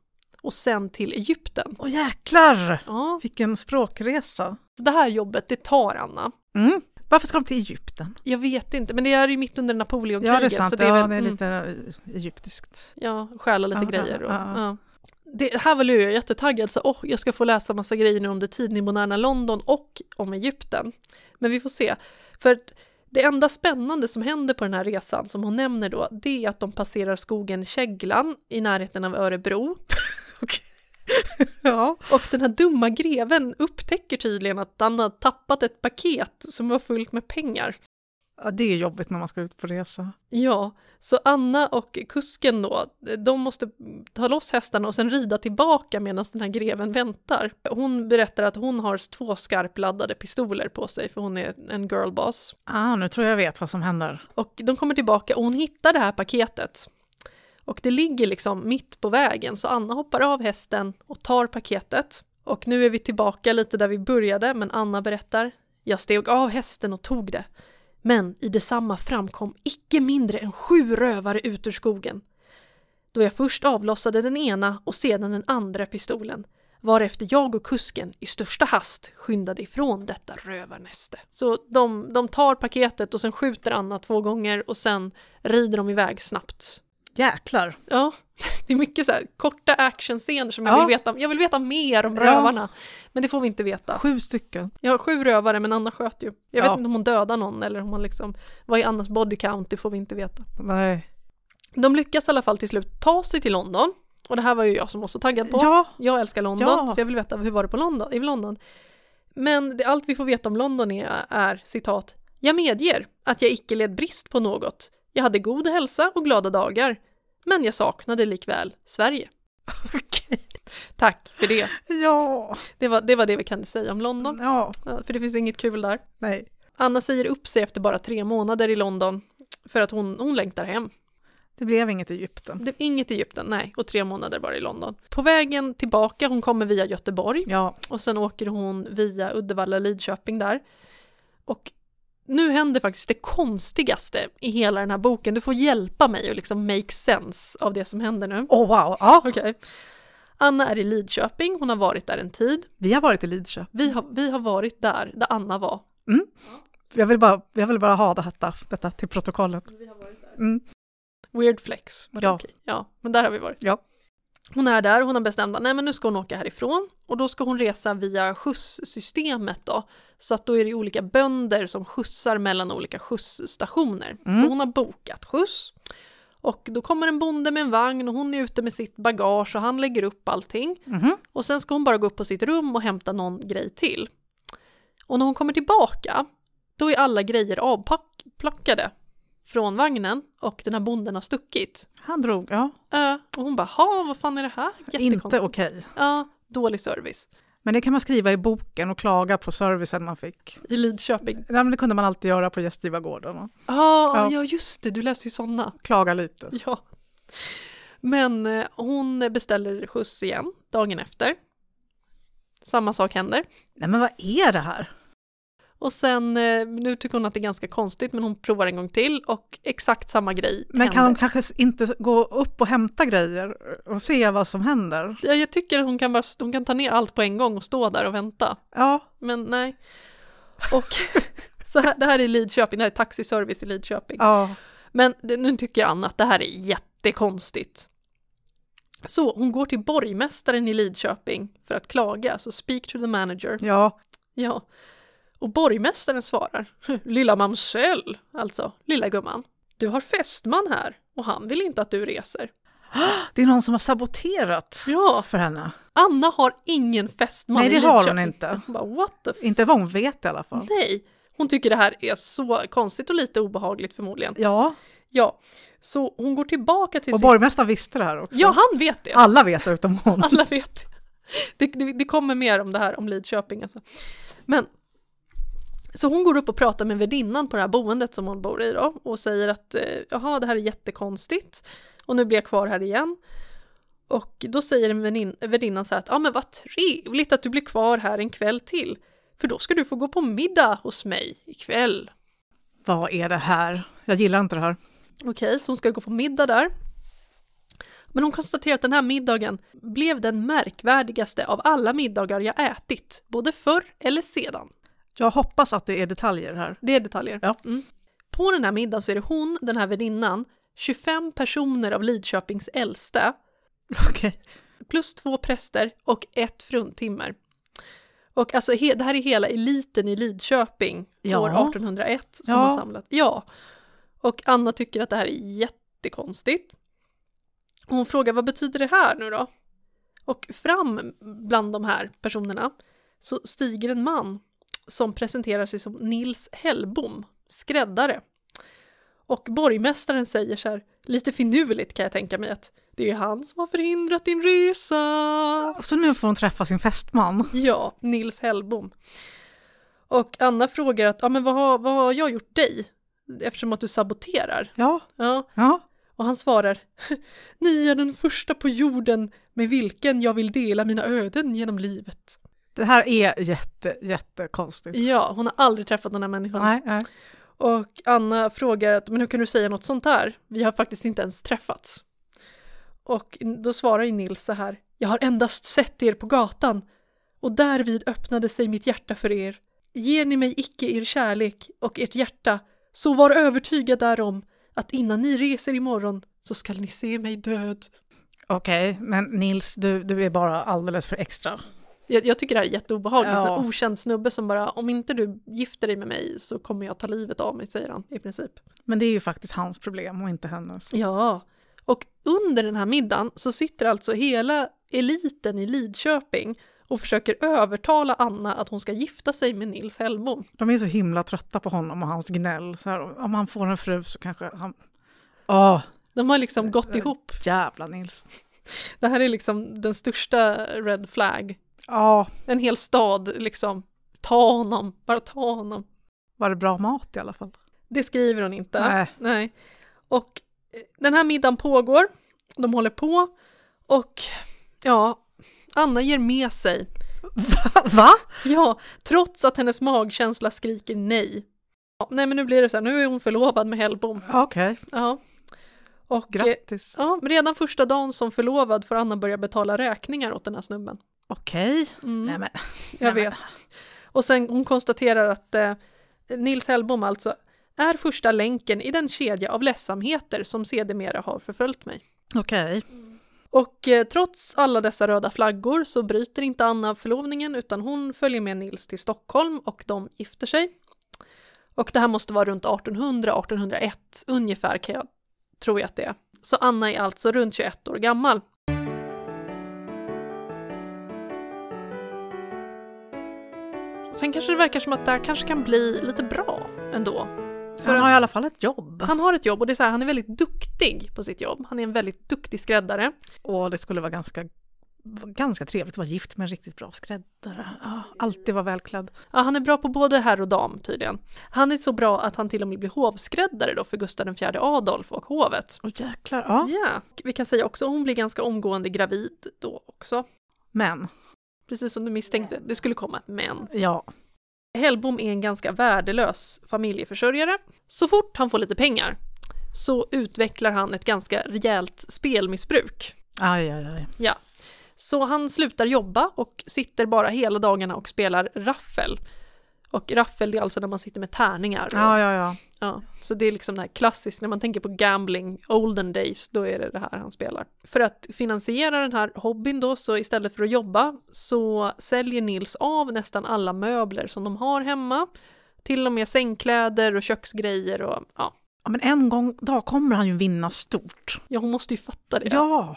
Speaker 1: och sen till Egypten.
Speaker 2: Åh jäklar!
Speaker 1: Ja,
Speaker 2: Vilken språkresa.
Speaker 1: så det här jobbet, det tar Anna.
Speaker 2: Mm. Varför ska de till Egypten?
Speaker 1: Jag vet inte, men det är ju mitt under Napoleonkriget.
Speaker 2: Ja, det är sant.
Speaker 1: Så
Speaker 2: det är, ja,
Speaker 1: väl,
Speaker 2: det är
Speaker 1: mm.
Speaker 2: lite eh, egyptiskt.
Speaker 1: Ja, stjäla lite
Speaker 2: Ja,
Speaker 1: grejer. Och,
Speaker 2: ja, ja.
Speaker 1: ja. Det här var ju jag jättetaggad, så åh, jag ska få läsa massa grejer nu om det tidiga moderna London och om Egypten. Men vi får se. För att det enda spännande som händer på den här resan, som hon nämner då, det är att de passerar skogen Käglan i närheten av Örebro.
Speaker 2: Ja.
Speaker 1: Och den här dumma greven upptäcker tydligen att han har tappat ett paket som var fullt med pengar.
Speaker 2: ja, det är jobbigt när man ska ut på resa.
Speaker 1: Ja, så Anna och kusken då, de måste ta loss hästarna och sen rida tillbaka medan den här greven väntar. Hon berättar att hon har två skarpladdade pistoler på sig för hon är en girlboss.
Speaker 2: Ah, nu tror jag vet vad som händer.
Speaker 1: Och de kommer tillbaka och hon hittar det här paketet. Och det ligger liksom mitt på vägen så Anna hoppar av hästen och tar paketet. Och nu är vi tillbaka lite där vi började men Anna berättar. Jag steg av hästen och tog det. Men i detsamma framkom icke mindre än sju rövare ut ur skogen. Då jag först avlossade den ena och sedan den andra pistolen varefter jag och kusken i största hast skyndade ifrån detta rövarnäste. Så de, de tar paketet och sen skjuter Anna två gånger och sen rider de iväg snabbt.
Speaker 2: Jäklar!
Speaker 1: Ja, det är mycket så här korta actionscener som jag,
Speaker 2: Ja.
Speaker 1: vill veta, jag vill veta mer om
Speaker 2: Ja.
Speaker 1: rövarna. Men det får vi inte veta.
Speaker 2: Sju stycken.
Speaker 1: Jag har sju rövare men Anna sköt ju. Jag
Speaker 2: Ja.
Speaker 1: vet inte om hon dödar någon eller om hon liksom, vad är Annas body count? Det får vi inte veta.
Speaker 2: Nej.
Speaker 1: De lyckas i alla fall till slut ta sig till London. Och det här var ju jag som var så taggad på.
Speaker 2: Ja,
Speaker 1: Jag älskar London,
Speaker 2: Ja.
Speaker 1: så jag vill veta hur var det på London, i London. Men det, allt vi får veta om London är, är citat, jag medger att jag icke led brist på något. Jag hade god hälsa och glada dagar, men jag saknade likväl Sverige.
Speaker 2: okej.
Speaker 1: Tack för det.
Speaker 2: Ja.
Speaker 1: Det var det, var det vi kan säga om London,
Speaker 2: ja,
Speaker 1: Ja, för det finns inget kul där.
Speaker 2: nej.
Speaker 1: Anna säger upp sig efter bara tre månader i London för att hon, hon längtar hem.
Speaker 2: Det blev inget Egypten.
Speaker 1: Det, inget i Egypten, nej, och tre månader bara i London. På vägen tillbaka, hon kommer via Göteborg,
Speaker 2: Ja,
Speaker 1: Och sen åker hon via Uddevalla, Lidköping där. Och nu händer faktiskt det konstigaste i hela den här boken. Du får hjälpa mig och liksom make sense av det som händer nu.
Speaker 2: oh, wow. Ja.
Speaker 1: Okej. Anna är i Lidköping, hon har varit där en tid.
Speaker 2: Vi har varit i Lidköping.
Speaker 1: Vi har, vi har varit där, där Anna var.
Speaker 2: Jag vill bara, jag vill bara ha detta, detta till protokollet. Mm.
Speaker 1: Weird flex. men
Speaker 2: Ja.
Speaker 1: okej. ja, men där har vi varit.
Speaker 2: Ja.
Speaker 1: Hon är där, hon har bestämt att nej men nu ska hon åka härifrån och då ska hon resa via skjutssystemet då. Så att då är det olika bönder som skjutsar mellan olika skjutsstationer.
Speaker 2: Mm.
Speaker 1: Så hon har bokat skjuts. Och då kommer en bonde med en vagn och hon är ute med sitt bagage och han lägger upp allting.
Speaker 2: Mhm.
Speaker 1: Och sen ska hon bara gå upp på sitt rum och hämta någon grej till. Och när hon kommer tillbaka, då är alla grejer avplockade från vagnen och den här bonden har stuckit.
Speaker 2: Han drog, ja.
Speaker 1: Ö, och hon bara, ha, vad fan är det här? Jättekonstigt.
Speaker 2: Inte okej.
Speaker 1: Ja, dålig service.
Speaker 2: Men det kan man skriva i boken och klaga på servicen man fick.
Speaker 1: I Lidköping.
Speaker 2: Nej, men det kunde man alltid göra på gästgivargården. och
Speaker 1: Ah,
Speaker 2: Ja.
Speaker 1: ja. ja, just det, du läser ju sådana.
Speaker 2: Klaga lite.
Speaker 1: Ja. Men eh, hon beställer skjuts igen dagen efter. Samma sak händer.
Speaker 2: Nej, men vad är det här?
Speaker 1: Och sen, eh, nu tycker hon att det är ganska konstigt, men hon provar en gång till och exakt samma grej
Speaker 2: Men kan de
Speaker 1: händer.
Speaker 2: kanske inte gå upp och hämta grejer och se vad som händer?
Speaker 1: Ja, Jag tycker att hon kan, bara, hon kan ta ner allt på en gång och stå där och vänta.
Speaker 2: Ja,
Speaker 1: Men nej. Och så här, det här är Lidköping, det här är taxiservice i Lidköping.
Speaker 2: ja.
Speaker 1: Men det- nu tycker Anna att det här är jättekonstigt. Så hon går till borgmästaren i Lidköping för att klaga, så speak to the manager.
Speaker 2: ja.
Speaker 1: Ja. Och borgmästaren svarar, lilla mamsell, alltså lilla gumman. Du har fästman här och han vill inte att du reser.
Speaker 2: Det är någon som har saboterat
Speaker 1: Ja,
Speaker 2: för henne.
Speaker 1: Anna har ingen fästman
Speaker 2: Nej,
Speaker 1: i
Speaker 2: det
Speaker 1: Lidköping.
Speaker 2: har hon inte.
Speaker 1: Hon bara, what the f-
Speaker 2: Inte vad hon vet i alla fall.
Speaker 1: Nej. Hon tycker det här är så konstigt och lite obehagligt förmodligen.
Speaker 2: Ja,
Speaker 1: Ja, så hon går tillbaka till
Speaker 2: och
Speaker 1: sin...
Speaker 2: borgmästaren visste det här också.
Speaker 1: Ja, han vet det.
Speaker 2: Alla vet det utom hon.
Speaker 1: Alla vet. Det, det, det kommer mer om det här, om Lidköping alltså. Men, så hon går upp och pratar med värdinnan på det här boendet som hon bor i då och säger att eh, jaha, det här är jättekonstigt och nu blir jag kvar här igen. Och då säger vänin- värdinnan så här att ja, ah, men vad trevligt att du blir kvar här en kväll till. För då ska du få gå på middag hos mig ikväll.
Speaker 2: Vad är det här? Jag gillar inte det här.
Speaker 1: Okej, så hon ska gå på middag där. Men hon konstaterar att den här middagen blev den märkvärdigaste av alla middagar jag ätit, både förr eller sedan.
Speaker 2: Jag hoppas att det är detaljer här.
Speaker 1: Det är detaljer.
Speaker 2: Ja.
Speaker 1: Mm. På den här middagen så är det hon, den här värdinnan, 25 personer av Lidköpings äldste,
Speaker 2: Okej.
Speaker 1: plus två präster och ett fruntimmer. Och alltså he- det här är hela eliten i Lidköping
Speaker 2: Ja.
Speaker 1: år 1801 som
Speaker 2: Ja.
Speaker 1: har samlat. Ja. Och Anna tycker att det här är jättekonstigt. Och Hon frågar vad betyder det här nu då? Och fram bland de här personerna så stiger en man som presenterar sig som Nils Hellbom, skräddare. Och borgmästaren säger så här, lite finurligt kan jag tänka mig att det är han som har förhindrat din resa.
Speaker 2: Så nu får hon träffa sin fästman.
Speaker 1: Ja, Nils Hellbom. Och Anna frågar att, ja men vad har, vad har jag gjort dig? Eftersom att du saboterar.
Speaker 2: Ja,
Speaker 1: Ja,
Speaker 2: ja.
Speaker 1: och han svarar, ni är den första på jorden med vilken jag vill dela mina öden genom livet.
Speaker 2: Det här är jätte, jättekonstigt.
Speaker 1: Ja, hon har aldrig träffat den här människan.
Speaker 2: Nej, nej.
Speaker 1: Och Anna frågar att, men hur kan du säga något sånt där? Vi har faktiskt inte ens träffats. Och då svarar ju Nils så här, jag har endast sett er på gatan och därvid öppnade sig mitt hjärta för er. Ger ni mig icke er kärlek och ert hjärta, så var övertygad därom att innan ni reser imorgon så skall ni se mig död.
Speaker 2: Okej, men Nils, du, du är bara alldeles för extra.
Speaker 1: Jag, jag tycker det här är jätteobehagligt,
Speaker 2: Ja.
Speaker 1: en okänd snubbe som bara, om inte du gifter dig med mig så kommer jag ta livet av mig, säger han i princip.
Speaker 2: Men det är ju faktiskt hans problem och inte hennes.
Speaker 1: Ja, och under den här middagen så sitter alltså hela eliten i Lidköping och försöker övertala Anna att hon ska gifta sig med Nils Hellbom.
Speaker 2: De är så himla trötta på honom och hans gnäll. Så här, om han får en fru så kanske han... Åh,
Speaker 1: De har liksom gått ihop.
Speaker 2: jävla Nils.
Speaker 1: Det här är liksom den största red flag.
Speaker 2: Ja,
Speaker 1: En hel stad liksom, ta honom, bara ta honom.
Speaker 2: var det bra mat i alla fall?
Speaker 1: Det skriver hon inte.
Speaker 2: Nej.
Speaker 1: Nej. Och eh, den här middagen pågår, de håller på och ja, Anna ger med sig
Speaker 2: Va?
Speaker 1: Ja, trots att hennes magkänsla skriker nej. Ja, nej men nu blir det så här, nu är hon förlovad med Hellbom.
Speaker 2: Okej,
Speaker 1: Ja. Och eh,
Speaker 2: grattis.
Speaker 1: ja, redan första dagen som förlovad får Anna börja betala räkningar åt den här snubben.
Speaker 2: Okej.
Speaker 1: Mm,
Speaker 2: Nej men,
Speaker 1: jag
Speaker 2: nej, men.
Speaker 1: vet. Och sen hon konstaterar att eh, Nils Hellbom alltså är första länken i den kedja av ledsamheter som sedermera har förföljt mig.
Speaker 2: Okej.
Speaker 1: Och eh, trots alla dessa röda flaggor så bryter inte Anna förlovningen utan hon följer med Nils till Stockholm och de gifter sig. Och det här måste vara runt 1800-1801 ungefär kan jag tro att det är. Så Anna är alltså runt 21 år gammal. Sen kanske det verkar som att det här kanske kan bli lite bra ändå. För
Speaker 2: För han har i alla fall ett jobb.
Speaker 1: Han har ett jobb och det är så här, han är väldigt duktig på sitt jobb. Han är en väldigt duktig skräddare.
Speaker 2: Och det skulle vara ganska, ganska trevligt att vara gift med en riktigt bra skräddare. Ja, alltid vara välklädd.
Speaker 1: Ja, han är bra på både herr och dam tydligen. Han är så bra att han till och med blir hovskräddare då för Gustav IV Adolf och hovet.
Speaker 2: Och jäklar, ja.
Speaker 1: Ja, vi kan säga också att hon blir ganska omgående gravid då också.
Speaker 2: Men,
Speaker 1: Precis som du misstänkte, det skulle komma ett men.
Speaker 2: ja.
Speaker 1: Hellbom är en ganska värdelös familjeförsörjare. Så fort han får lite pengar så utvecklar han ett ganska rejält spelmissbruk.
Speaker 2: Aj, aj, aj.
Speaker 1: Ja. Så han slutar jobba och sitter bara hela dagarna och spelar raffel. Och raffel det är alltså när man sitter med tärningar. Och,
Speaker 2: Ja, ja, ja.
Speaker 1: Ja, så det är liksom det här klassiskt, när man tänker på gambling, olden days, då är det det här han spelar. För att finansiera den här hobbyn då, så istället för att jobba så säljer Nils av nästan alla möbler som de har hemma. Till och med sängkläder och köksgrejer och ja,
Speaker 2: Ja, men en gång dag kommer han ju vinna stort.
Speaker 1: ja hon måste ju fatta det.
Speaker 2: Ja!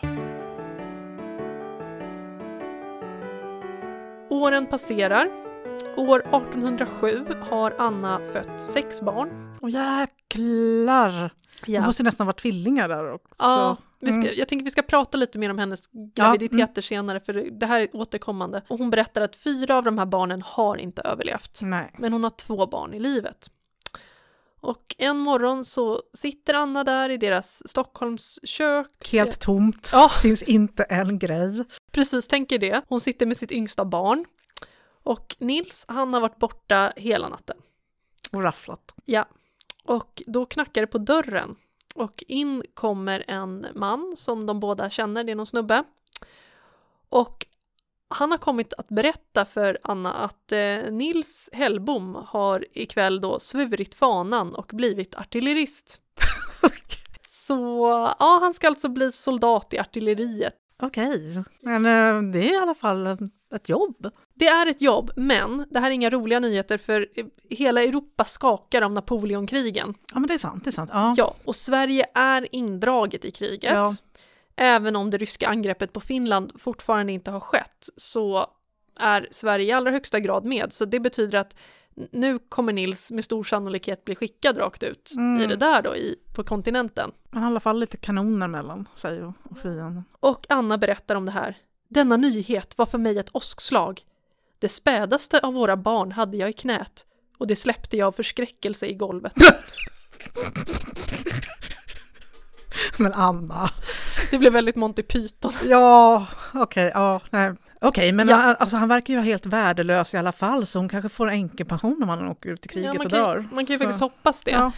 Speaker 1: Åren passerar. År 1807 har Anna fött sex barn.
Speaker 2: Och jäklar! De måste ju nästan vara tvillingar där också.
Speaker 1: Ja, Vi ska,
Speaker 2: Mm.
Speaker 1: Jag tänker vi ska prata lite mer om hennes graviditeter senare, för det här är återkommande. Och hon berättar att fyra av de här barnen har inte överlevt.
Speaker 2: Nej.
Speaker 1: Men hon har två barn i livet. Och en morgon så sitter Anna där i deras Stockholms kök.
Speaker 2: Helt tomt.
Speaker 1: Ja.
Speaker 2: Finns inte en grej.
Speaker 1: Precis, tänker det. Hon sitter med sitt yngsta barn. Och Nils, han har varit borta hela natten.
Speaker 2: Och rafflat.
Speaker 1: Ja. Och då knackar det på dörren. Och in kommer en man som de båda känner, det är någon snubbe. Och han har kommit att berätta för Anna att eh, Nils Hellbom har ikväll då svurit fanan och blivit artillerist. Så ja, han ska alltså bli soldat i artilleriet.
Speaker 2: Okej. Men eh, det är i alla fall en- ett jobb.
Speaker 1: Det är ett jobb, men det här är inga roliga nyheter för eh, hela Europa skakar om Napoleonkrigen.
Speaker 2: Ja, men det är sant. Det är sant. Ja.
Speaker 1: Ja, och Sverige är indraget i kriget.
Speaker 2: Ja.
Speaker 1: Även om det ryska angreppet på Finland fortfarande inte har skett så är Sverige i allra högsta grad med. Så det betyder att nu kommer Nils med stor sannolikhet bli skickad rakt ut
Speaker 2: Mm.
Speaker 1: i det där då, i, på kontinenten.
Speaker 2: Men i alla fall lite kanoner mellan sig och, och fienden.
Speaker 1: Och Anna berättar om det här. Denna nyhet var för mig ett åskslag. Det spädaste av våra barn hade jag i knät och det släppte jag av förskräckelse i golvet.
Speaker 2: Men Anna.
Speaker 1: Det blev väldigt Monty Python.
Speaker 2: Ja, okej. ja, nej. Okej, men
Speaker 1: Ja.
Speaker 2: han, alltså, han verkar ju vara helt värdelös i alla fall så hon kanske får änkepension om han åker ut i kriget
Speaker 1: Ja, man,
Speaker 2: och
Speaker 1: kan,
Speaker 2: dör.
Speaker 1: ju- man kan ju
Speaker 2: Så-
Speaker 1: faktiskt hoppas det.
Speaker 2: Ja.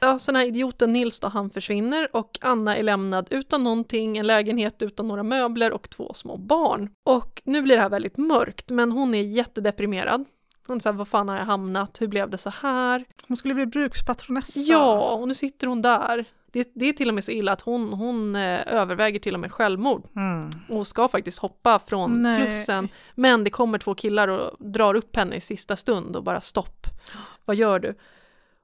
Speaker 1: Ja. så den här idioten Nils då, han försvinner och Anna är lämnad utan någonting, en lägenhet utan några möbler och två små barn. Och nu blir det här väldigt mörkt, men hon är jättedeprimerad. Hon säger, vad fan har jag hamnat? Hur blev det så här?
Speaker 2: Hon skulle bli brukspatronessa.
Speaker 1: Ja, och nu sitter hon där. Det, det är till och med så illa att hon, hon eh, överväger till och med självmord
Speaker 2: Mm.
Speaker 1: och ska faktiskt hoppa från
Speaker 2: Nej.
Speaker 1: Slussen. Men det kommer två killar och drar upp henne i sista stund och bara stopp, vad gör du?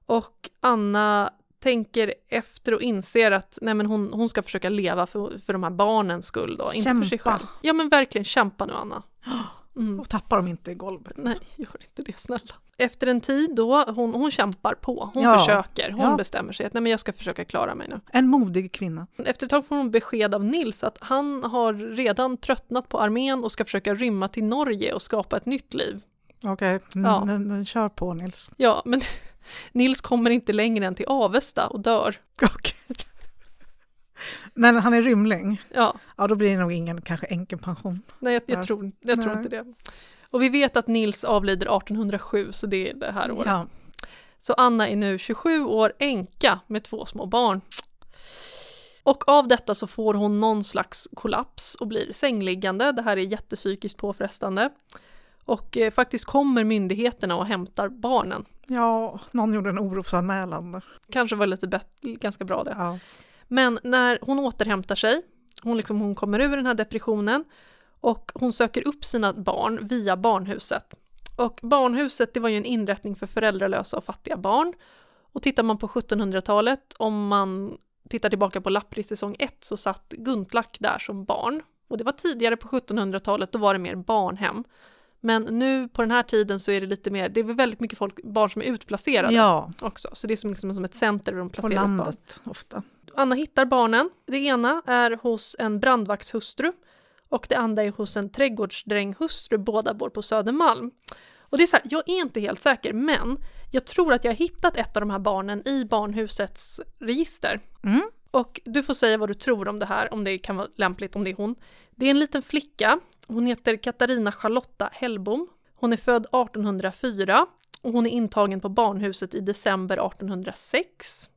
Speaker 1: Och Anna tänker efter och inser att nej men hon, hon ska försöka leva för, för de här barnens skull då, inte för sig
Speaker 2: Kämpa.
Speaker 1: själv. Ja men verkligen kämpa nu Anna. Mm.
Speaker 2: Och tappar dem inte i golvet.
Speaker 1: Nej, gör inte det snälla. Efter en tid då, hon, hon kämpar på, hon
Speaker 2: Ja.
Speaker 1: försöker, hon
Speaker 2: Ja.
Speaker 1: bestämmer sig att nej men jag ska försöka klara mig nu.
Speaker 2: En modig kvinna.
Speaker 1: Efter ett tag får hon besked av Nils att han har redan tröttnat på armén och ska försöka rymma till Norge och skapa ett nytt liv.
Speaker 2: Okej, mm,
Speaker 1: Ja.
Speaker 2: men, men kör på Nils.
Speaker 1: Ja, men Nils kommer inte längre än till Avesta och dör.
Speaker 2: Okej. Men han är rymling.
Speaker 1: Ja,
Speaker 2: Ja, då blir det nog ingen kanske änkepension.
Speaker 1: nej jag,
Speaker 2: Ja.
Speaker 1: jag, tror, jag tror
Speaker 2: Nej.
Speaker 1: inte det. Och vi vet att Nils avlider 1807, så det är det här året.
Speaker 2: Ja.
Speaker 1: Så Anna är nu 27 år, änka med två små barn. Och av detta så får hon någon slags kollaps och blir sängliggande. Det här är jättepsykiskt påfrestande. Och eh, faktiskt kommer myndigheterna och hämtar barnen.
Speaker 2: ja, någon gjorde en orosanmälan.
Speaker 1: Kanske var lite bet- ganska bra det.
Speaker 2: Ja.
Speaker 1: Men när hon återhämtar sig, hon, liksom, hon kommer ur den här depressionen och hon söker upp sina barn via barnhuset. Och barnhuset det var ju en inrättning för föräldralösa och fattiga barn. Och tittar man på 1700-talet, om man tittar tillbaka på Lappri säsong 1 så satt Guntlack där som barn. Och det var tidigare på 1700-talet, då var det mer barnhem. Men nu på den här tiden så är det lite mer, det är väl väldigt mycket folk, barn som är utplacerade
Speaker 2: ja,
Speaker 1: också. Så det är som, liksom, som ett center där de
Speaker 2: på
Speaker 1: placerar ut barn.
Speaker 2: landet ofta.
Speaker 1: Anna hittar barnen. Det ena är hos en brandvaktshustru och det andra är hos en trädgårdsdränghustru. Båda bor på Södermalm. Och det är så här, jag är inte helt säker, men jag tror att jag har hittat ett av de här barnen i barnhusets register.
Speaker 2: Mm.
Speaker 1: Och du får säga vad du tror om det här, om det kan vara lämpligt, om det är hon. Det är en liten flicka. Hon heter Katarina Charlotta Hellbom. Hon är född 1804 och hon är intagen på barnhuset i december 1806.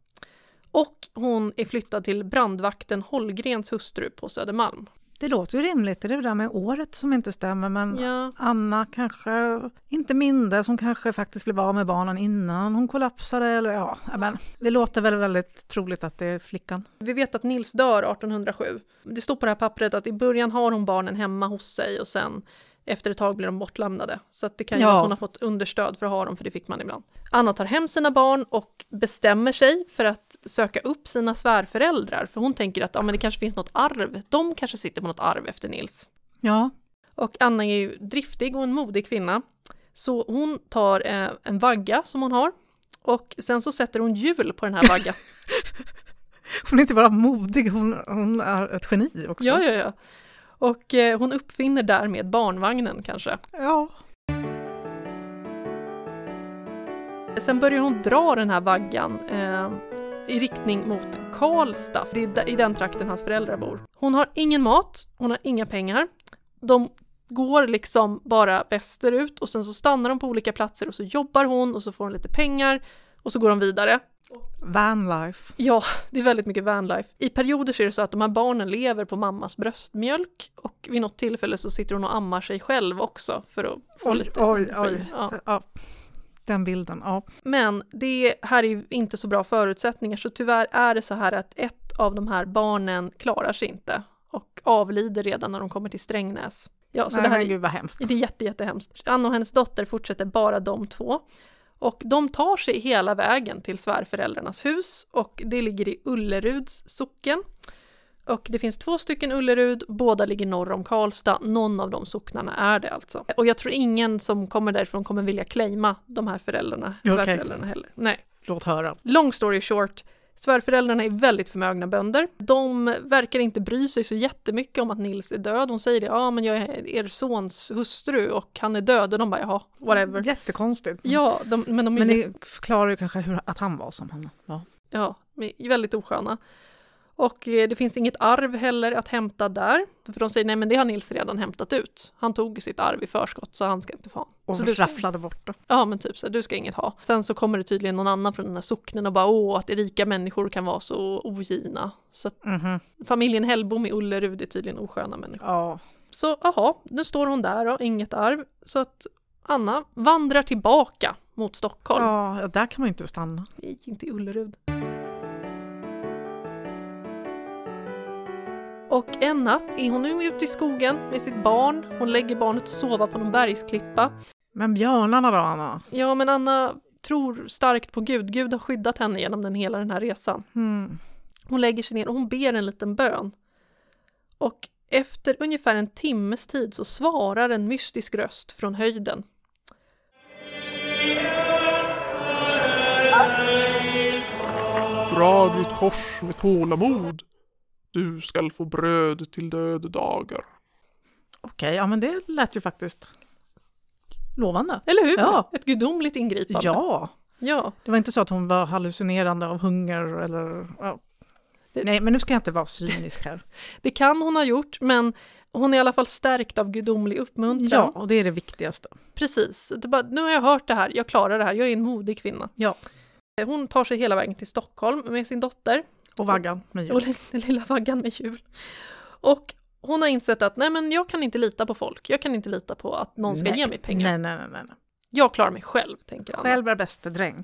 Speaker 1: Och hon är flyttad till brandvakten Holgrens hustru på Södermalm.
Speaker 2: Det låter ju rimligt, det är det där med året som inte stämmer, men
Speaker 1: Ja,
Speaker 2: Anna kanske inte mindes, hon kanske faktiskt blev av med barnen innan hon kollapsade. Eller, ja, men det låter väl väldigt troligt att det är flickan.
Speaker 1: vi vet att Nils dör 1807. Det står på det här pappret att i början har hon barnen hemma hos sig och sen efter ett tag blir de bortlämnade. Så att det kan ju
Speaker 2: Ja.
Speaker 1: vara att hon har fått understöd för att ha dem, för det fick man ibland. Anna tar hem sina barn och bestämmer sig för att söka upp sina svärföräldrar, för hon tänker att ja, men det kanske finns något arv. De kanske sitter på något arv efter Nils.
Speaker 2: Ja,
Speaker 1: Och Anna är ju driftig och en modig kvinna. Så hon tar eh, en vagga som hon har och sen så sätter hon hjul på den här vaggan.
Speaker 2: Hon är inte bara modig, hon, hon är ett geni också.
Speaker 1: Ja, ja, ja. Och eh, hon uppfinner därmed barnvagnen kanske.
Speaker 2: Ja.
Speaker 1: Sen börjar hon dra den här vaggan eh, i riktning mot Karlstad. Det är där- i den trakten hans föräldrar bor. Hon har ingen mat, hon har inga pengar. De går liksom bara västerut och sen så stannar de på olika platser och så jobbar hon och så får hon lite pengar och så går de vidare.
Speaker 2: Vanlife.
Speaker 1: Ja, det är väldigt mycket vanlife. I perioder så är det så att de här barnen lever på mammas bröstmjölk och vid något tillfälle så sitter hon och ammar sig själv också för att få lite
Speaker 2: oj,
Speaker 1: energi.
Speaker 2: oj.
Speaker 1: Ja.
Speaker 2: Ja. Den bilden, ja.
Speaker 1: Men det här är ju inte så bra förutsättningar så tyvärr är det så här att ett av de här barnen klarar sig inte och avlider redan när de kommer till Strängnäs. Ja, så
Speaker 2: Nej,
Speaker 1: det här
Speaker 2: men
Speaker 1: är,
Speaker 2: gud vad hemskt.
Speaker 1: det är jätte, jättehemskt. Anna och hennes dotter fortsätter bara de två. Och de tar sig hela vägen till svärföräldrarnas hus och det ligger i Ulleruds socken. Och det finns två stycken Ullerud, båda ligger norr om Karlstad. Någon av de socknarna är det alltså. Och jag tror ingen som kommer därifrån kommer vilja claima de här föräldrarna,
Speaker 2: Okej.
Speaker 1: svärföräldrarna heller. Nej.
Speaker 2: Låt höra.
Speaker 1: Long story short, svärföräldrarna är väldigt förmögna bönder. De verkar inte bry sig så jättemycket om att Nils är död. Hon säger det, ja men jag är er sons hustru och han är död. Och de bara, jaha, whatever.
Speaker 2: Jättekonstigt.
Speaker 1: Ja, de, men de är
Speaker 2: Mm. Men det förklarar ju kanske hur, att han var som han var.
Speaker 1: Ja, men väldigt osköna. Och eh, det finns inget arv heller att hämta där. För de säger nej men det har Nils redan hämtat ut. Han tog sitt arv i förskott så han ska inte få ha.
Speaker 2: Och
Speaker 1: Så du ska,
Speaker 2: rafflade bort det.
Speaker 1: ja men typ så här, du ska inget ha. Sen så kommer det tydligen någon annan från den här socknen och bara åh att rika människor kan vara så ogina. Så att
Speaker 2: Mhm.
Speaker 1: familjen Hellbom i Ullerud är tydligen osköna människor.
Speaker 2: Ja.
Speaker 1: Så aha, nu står hon där och inget arv. Så att Anna vandrar tillbaka mot Stockholm.
Speaker 2: ja, där kan man ju inte stanna.
Speaker 1: Nej, inte i Ullerud. Och en natt är hon nu ute i skogen med sitt barn. Hon lägger barnet och sover på någon bergsklippa.
Speaker 2: Men björnarna då, Anna?
Speaker 1: Ja, men Anna tror starkt på Gud. Gud har skyddat henne genom den hela den här resan.
Speaker 2: Mm.
Speaker 1: Hon lägger sig ner och hon ber en liten bön. Och efter ungefär en timmes tid så svarar en mystisk röst från höjden.
Speaker 3: Drag ditt kors med tålamod. Du skall få bröd till döddagar.
Speaker 2: Okej, ja men det lät ju faktiskt lovande.
Speaker 1: Eller hur?
Speaker 2: Ja.
Speaker 1: Ett gudomligt ingripande.
Speaker 2: Ja,
Speaker 1: ja.
Speaker 2: det var inte så att hon var hallucinerande av hunger eller... Ja.
Speaker 1: Det-
Speaker 2: Nej, men nu ska jag inte vara cynisk här.
Speaker 1: Det kan hon ha gjort, men hon är i alla fall stärkt av gudomlig uppmuntran.
Speaker 2: Ja, och det är det viktigaste.
Speaker 1: Precis. Det är bara, nu har jag hört det här, jag klarar det här, jag är en modig kvinna.
Speaker 2: Ja.
Speaker 1: Eh, Hon tar sig hela vägen till Stockholm med sin dotter
Speaker 2: Och vaggan, Mio.
Speaker 1: och den lilla vaggan med hjul. Och hon har insett att nej men jag kan inte lita på folk, jag kan inte lita på att någon ska
Speaker 2: Nej.
Speaker 1: ge mig pengar.
Speaker 2: Nej, nej, nej. nej.
Speaker 1: Jag klarar mig själv, tänker Anna.
Speaker 2: Själv är bäste dräng.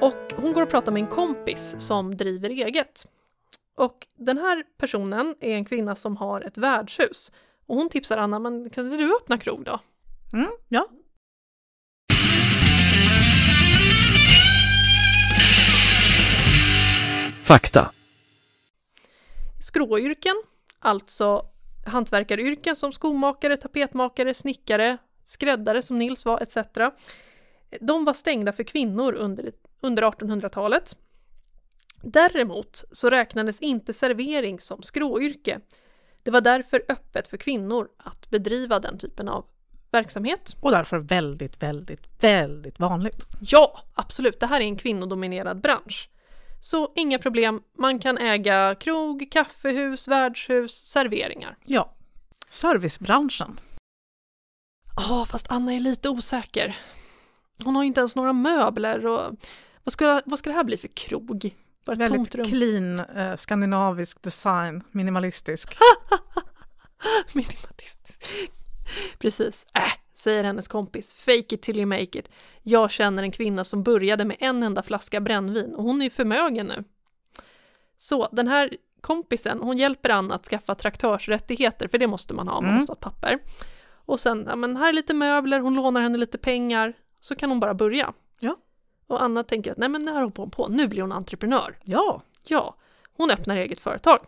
Speaker 1: Och hon går och pratar med en kompis som driver eget. Och den här personen är en kvinna som har ett värdshus. Och hon tipsar Anna, men kan inte du öppna krog då?
Speaker 2: Mm, ja.
Speaker 4: Fakta.
Speaker 1: Skråyrken, alltså hantverkaryrken som skomakare, tapetmakare, snickare, skräddare som Nils var etc. De var stängda för kvinnor under, under 1800-talet. Däremot så räknades inte servering som skråyrke. Det var därför öppet för kvinnor att bedriva den typen av verksamhet.
Speaker 2: Och därför väldigt, väldigt, väldigt vanligt.
Speaker 1: Ja, absolut. Det här är en kvinnodominerad bransch. Så inga problem. Man kan äga krog, kaffehus, värdshus, serveringar.
Speaker 2: Ja. Servicebranschen.
Speaker 1: Ja, fast Anna är lite osäker. Hon har ju inte ens några möbler och vad ska, vad ska det här bli för krog? Bara ett
Speaker 2: Väldigt
Speaker 1: tomt rum.
Speaker 2: clean, eh, skandinavisk design, minimalistisk.
Speaker 1: Minimalistisk. Precis. Äh, säger hennes kompis. Fake it till you make it. Jag känner en kvinna som började med en enda flaska brännvin och hon är ju förmögen nu. Så den här kompisen, hon hjälper Anna att skaffa traktörsrättigheter, för det måste man ha, man
Speaker 2: Mm.
Speaker 1: måste ha ett papper. Och sen, ja men här är lite möbler, hon lånar henne lite pengar, så kan hon bara börja.
Speaker 2: Ja.
Speaker 1: Och Anna tänker att nej men det här hoppar hon på, nu blir hon entreprenör.
Speaker 2: Ja,
Speaker 1: Ja, hon öppnar eget företag.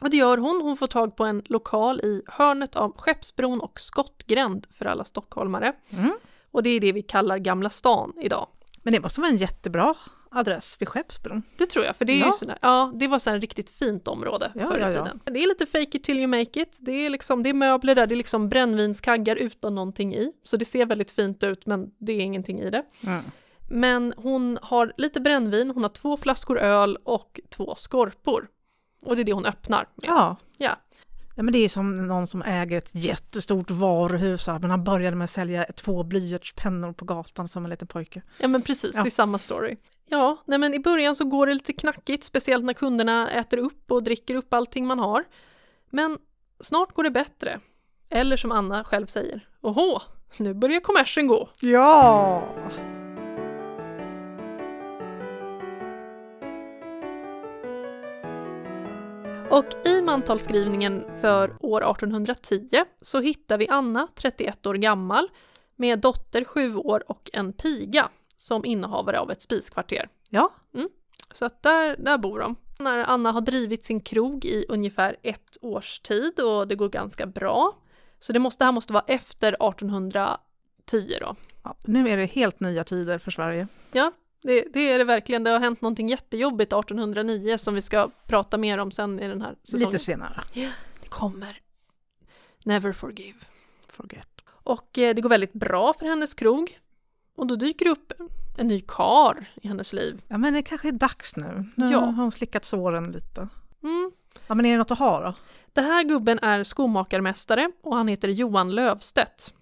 Speaker 1: Och det gör hon. Hon får tag på en lokal i hörnet av Skeppsbron och Skottgränd för alla stockholmare.
Speaker 2: Mm.
Speaker 1: Och det är det vi kallar Gamla stan idag.
Speaker 2: Men det måste vara en jättebra adress vid Skeppsbron.
Speaker 1: Det tror jag, för det är
Speaker 2: Ja.
Speaker 1: ju sådär, ja, det var sådär ett riktigt fint område
Speaker 2: Ja,
Speaker 1: förr i
Speaker 2: ja, ja.
Speaker 1: tiden. Det är lite fake it till you make it. Det är, liksom, det är möbler där, det är liksom brännvinskaggar utan någonting i. Så det ser väldigt fint ut, men det är ingenting i det.
Speaker 2: Mm.
Speaker 1: Men hon har lite brännvin, hon har två flaskor öl och två skorpor. Och det är det hon öppnar med.
Speaker 2: Ja.
Speaker 1: Ja.
Speaker 2: ja. men det är ju som någon som äger ett jättestort varuhus, så här, men han började med att sälja två blyertspennor på gatan som en liten pojke.
Speaker 1: Ja men precis,
Speaker 2: Ja.
Speaker 1: det är samma story. Ja, nej men i början så går det lite knackigt, speciellt när kunderna äter upp och dricker upp allting man har. Men snart går det bättre. Eller som Anna själv säger, åhå, nu börjar kommersen gå.
Speaker 2: Ja!
Speaker 1: Och i mantalsskrivningen för år 1810 så hittar vi Anna, 31 år gammal, med dotter 7 år och en piga som innehavare av ett spiskvarter. Mm.
Speaker 2: Ja,
Speaker 1: Så att där, där bor de. När Anna har drivit sin krog i ungefär ett års tid och det går ganska bra. Så det, måste, det här måste vara efter 1810 då.
Speaker 2: ja nu är det helt nya tider för Sverige.
Speaker 1: Ja, det, det är det verkligen. Det har hänt någonting jättejobbigt 1809 som vi ska prata mer om sen i den här säsongen.
Speaker 2: Lite senare.
Speaker 1: Det kommer. Never forgive.
Speaker 2: Forget.
Speaker 1: Och eh, det går väldigt bra för hennes krog. Och då dyker det upp en ny kar i hennes liv.
Speaker 2: Ja, men det kanske är dags nu. Nu
Speaker 1: Ja.
Speaker 2: har hon slickat såren lite.
Speaker 1: Mm.
Speaker 2: Ja, men är det något att ha då?
Speaker 1: Det här gubben är skomakarmästare och han heter Johan Lövstedt.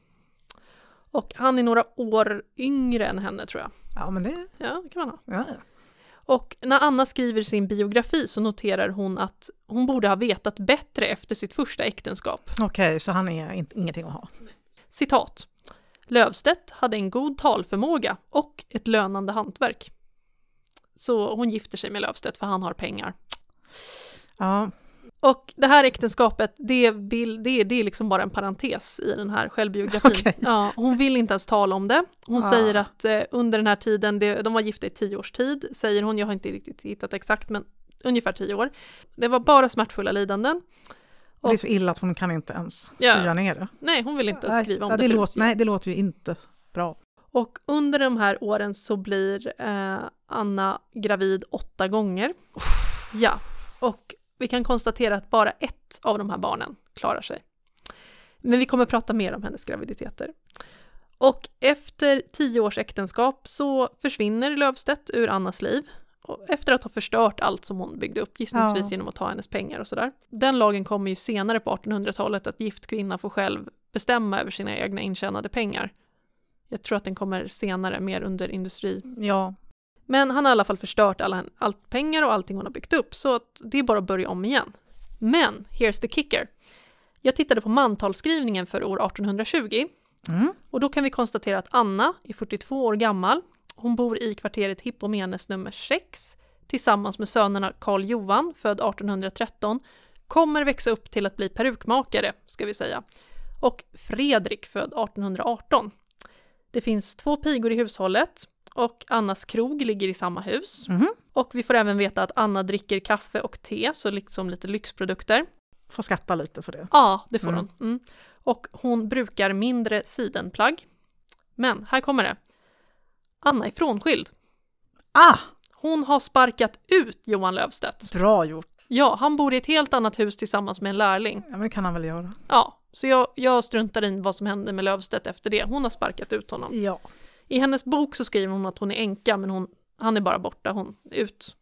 Speaker 1: Och han är några år yngre än henne tror jag.
Speaker 2: Ja, men det...
Speaker 1: Ja, det kan man ha.
Speaker 2: Ja, ja.
Speaker 1: Och när Anna skriver sin biografi så noterar hon att hon borde ha vetat bättre efter sitt första äktenskap.
Speaker 2: Okej, så han är inte, ingenting att ha.
Speaker 1: Citat. Lövstedt hade en god talförmåga och ett lönande hantverk. Så hon gifter sig med Lövstedt för han har pengar.
Speaker 2: Ja,
Speaker 1: Och det här äktenskapet, det, vill, det, det är liksom bara en parentes i den här självbiografin.
Speaker 2: Okej.
Speaker 1: Ja, hon vill inte ens tala om det. Hon
Speaker 2: Ah.
Speaker 1: säger att eh, under den här tiden, det, de var gifta i tio års tid, säger hon, jag har inte riktigt hittat exakt, men ungefär tio år. Det var bara smärtfulla lidanden.
Speaker 2: det är så illa att hon kan inte ens
Speaker 1: Ja.
Speaker 2: skriva ner det.
Speaker 1: Nej, hon vill inte ens
Speaker 2: Nej,
Speaker 1: skriva om
Speaker 2: ja,
Speaker 1: det.
Speaker 2: det
Speaker 1: för
Speaker 2: låter, nej, det låter ju inte bra.
Speaker 1: Och under de här åren så blir eh, Anna gravid åtta gånger. Ja, och vi kan konstatera att bara ett av de här barnen klarar sig. Men vi kommer prata mer om hennes graviditeter. Och efter tio års äktenskap så försvinner Löfstedt ur Annas liv. Och Efter att ha förstört allt som hon byggde upp, gissningsvis
Speaker 2: Ja.
Speaker 1: genom att ta hennes pengar och sådär. Den lagen kommer ju senare på 1800-talet att gift kvinna får själv bestämma över sina egna intjänade pengar. Jag tror att den kommer senare, mer under industri.
Speaker 2: Ja,
Speaker 1: Men han har i alla fall förstört alla, hen- allt pengar och allting hon har byggt upp, så att det är bara att börja om igen. Men, here's the kicker. Jag tittade på mantalsskrivningen för år 1820
Speaker 2: mm.
Speaker 1: och då kan vi konstatera att Anna är 42 år gammal. Hon bor i kvarteret Hippomenes nummer 6 tillsammans med sönerna Karl Johan, född 1813, kommer växa upp till att bli perukmakare, ska vi säga, och Fredrik, född 1818. Det finns två pigor i hushållet och Annas krog ligger i samma hus.
Speaker 2: Mhm.
Speaker 1: Och vi får även veta att Anna dricker kaffe och te, så liksom lite lyxprodukter.
Speaker 2: får skatta lite för det.
Speaker 1: Ja, det får
Speaker 2: Mm.
Speaker 1: hon. Mm. Och hon brukar mindre sidenplagg. Men här kommer det. Anna är frånskild.
Speaker 2: Ah,
Speaker 1: Hon har sparkat ut Johan Löfstedt.
Speaker 2: bra gjort.
Speaker 1: Ja, han bor i ett helt annat hus tillsammans med en lärling.
Speaker 2: Ja, men det kan han väl göra.
Speaker 1: Ja, så jag, jag struntar i vad som hände med Löfstedt efter det. Hon har sparkat ut honom.
Speaker 2: Ja.
Speaker 1: I hennes bok så skriver hon att hon är änka, men hon, han är bara borta. Hon är ut.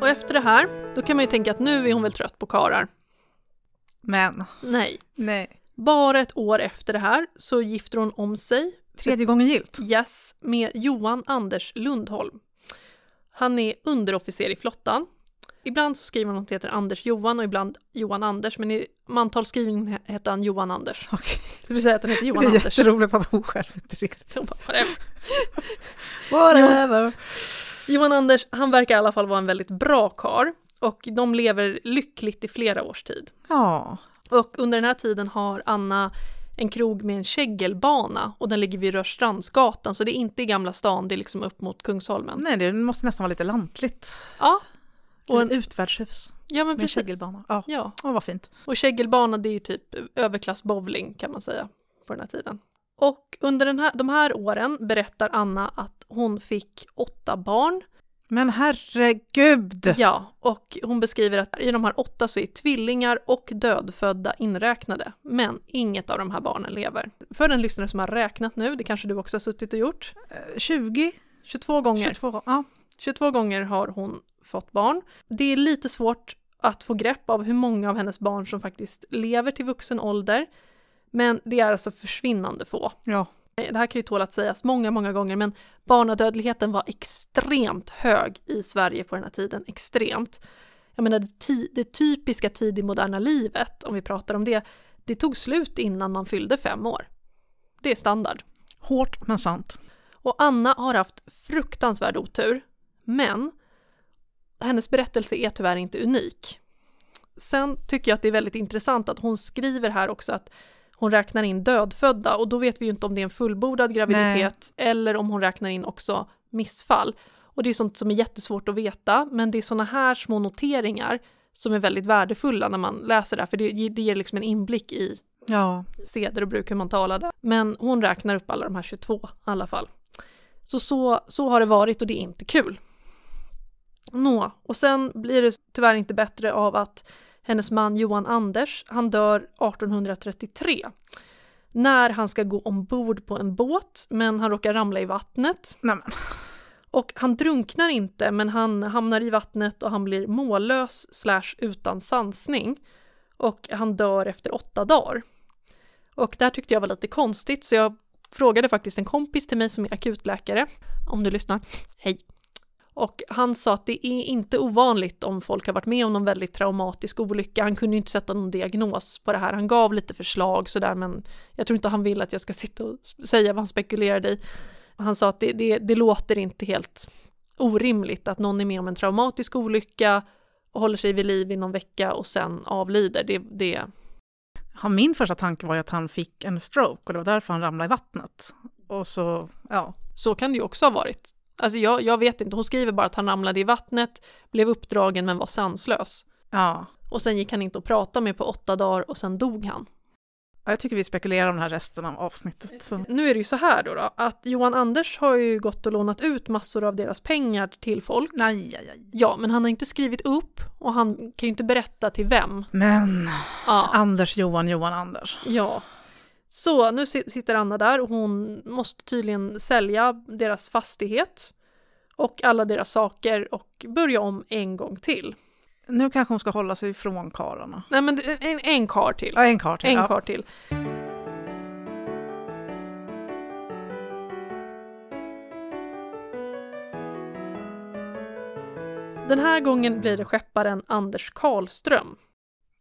Speaker 1: Och efter det här, då kan man ju tänka att nu är hon väl trött på karar.
Speaker 2: Men,
Speaker 1: Nej.
Speaker 2: nej.
Speaker 1: Bara ett år efter det här så gifter hon om sig,
Speaker 2: Tredje gången gilt.
Speaker 1: yes, med Johan Anders Lundholm. Han är underofficer i flottan. Ibland så skriver hon att han heter Anders Johan och ibland Johan Anders, men i mantalsskrivningen hette han Johan Anders.
Speaker 2: Okej.
Speaker 1: Det vill säga att han heter Johan
Speaker 2: det är
Speaker 1: Anders.
Speaker 2: jätteroligt att hon själv inte riktigt...
Speaker 1: Hon bara, "Whatever."
Speaker 2: Whatever.
Speaker 1: Johan Anders, han verkar i alla fall vara en väldigt bra kar och de lever lyckligt i flera års tid.
Speaker 2: Ja,
Speaker 1: Och under den här tiden har Anna en krog med en kägelbana och den ligger vid Rörstrandsgatan så det är inte i Gamla stan, det är liksom upp mot Kungsholmen.
Speaker 2: Nej, det måste nästan vara lite lantligt.
Speaker 1: Ja,
Speaker 2: Och en utvärdshus
Speaker 1: ja men
Speaker 2: med en
Speaker 1: precis.
Speaker 2: kägelbana. Ja,
Speaker 1: Ja,
Speaker 2: Åh, vad fint.
Speaker 1: och kägelbana det är ju typ överklassbowling kan man säga på den här tiden. Och under den här, de här åren berättar Anna att hon fick åtta barn.
Speaker 2: Men herregud!
Speaker 1: Ja, och hon beskriver att i de här åtta så är tvillingar och dödfödda inräknade. Men inget av de här barnen lever. För den lyssnare som har räknat nu, det kanske du också har suttit och gjort.
Speaker 2: Eh, 20,
Speaker 1: 22 gånger.
Speaker 2: 22, ja.
Speaker 1: 22 gånger har hon fått barn. Det är lite svårt att få grepp av hur många av hennes barn som faktiskt lever till vuxen ålder. Men det är alltså försvinnande få. Eh,
Speaker 2: ja.
Speaker 1: Det här kan ju tåla att sägas många, många gånger, men barnadödligheten var extremt hög i Sverige på den här tiden. Extremt. Jag menar, det, ti- det typiska tid i moderna livet, om vi pratar om det, det tog slut innan man fyllde fem år. Det är standard.
Speaker 2: Hårt men sant.
Speaker 1: Och Anna har haft fruktansvärd otur, men hennes berättelse är tyvärr inte unik. Sen tycker jag att det är väldigt intressant att hon skriver här också att hon räknar in dödfödda och då vet vi ju inte om det är en fullbordad graviditet eller om hon räknar in också missfall. Och det är sånt som är jättesvårt att veta, men det är såna här små noteringar som är väldigt värdefulla när man läser det här, för det, det ger liksom en inblick i
Speaker 2: Ja,
Speaker 1: seder och bruk hur man talade. Men hon räknar upp alla de här 22 i alla fall. Så, så, så har det varit och det är inte kul. Nå, och sen blir det tyvärr inte bättre av att hennes man Johan Anders, han dör 1833. När han ska gå ombord på en båt, men han råkar ramla i vattnet.
Speaker 2: nej men.
Speaker 1: Och han drunknar inte, men han hamnar i vattnet och han blir mållös slash utan sansning. Och han dör efter åtta dagar. Och det här tyckte jag var lite konstigt, så jag frågade faktiskt en kompis till mig som är akutläkare, om du lyssnar, hej. Och han sa att det är inte ovanligt om folk har varit med om någon väldigt traumatisk olycka. Han kunde ju inte sätta någon diagnos på det här. Han gav lite förslag sådär, men jag tror inte han vill att jag ska sitta och s- säga vad han spekulerade i. Han sa att det, det, det låter inte helt orimligt att någon är med om en traumatisk olycka och håller sig vid liv i någon vecka och sen avlider. Det, det,
Speaker 2: Han, min första tanke var ju att han fick en stroke och det var därför han ramlade i vattnet. Och så, ja.
Speaker 1: så kan det ju också ha varit. Alltså jag, jag vet inte, hon skriver bara att han ramlade i vattnet, blev uppdragen men var sanslös.
Speaker 2: ja.
Speaker 1: Och sen gick han inte att prata med på åtta dagar och sen dog han.
Speaker 2: Ja, Jag tycker vi spekulerar om den här resten av avsnittet. Så.
Speaker 1: Nu är det ju så här då, då att Johan Anders har ju gått och lånat ut massor av deras pengar till folk.
Speaker 2: Nej, aj, aj.
Speaker 1: Ja, men han har inte skrivit upp och han kan ju inte berätta till vem.
Speaker 2: Men
Speaker 1: Ja.
Speaker 2: Anders, Johan, Johan, Anders.
Speaker 1: Ja. Så nu si- sitter Anna där och hon måste tydligen sälja deras fastighet och alla deras saker och börja om en gång till.
Speaker 2: Nu kanske hon ska hålla sig ifrån karlarna.
Speaker 1: Nej men det- en, en kar till.
Speaker 2: Ja, en karl till.
Speaker 1: En
Speaker 2: ja.
Speaker 1: kar till. Den här gången blir det skepparen Anders Karlström.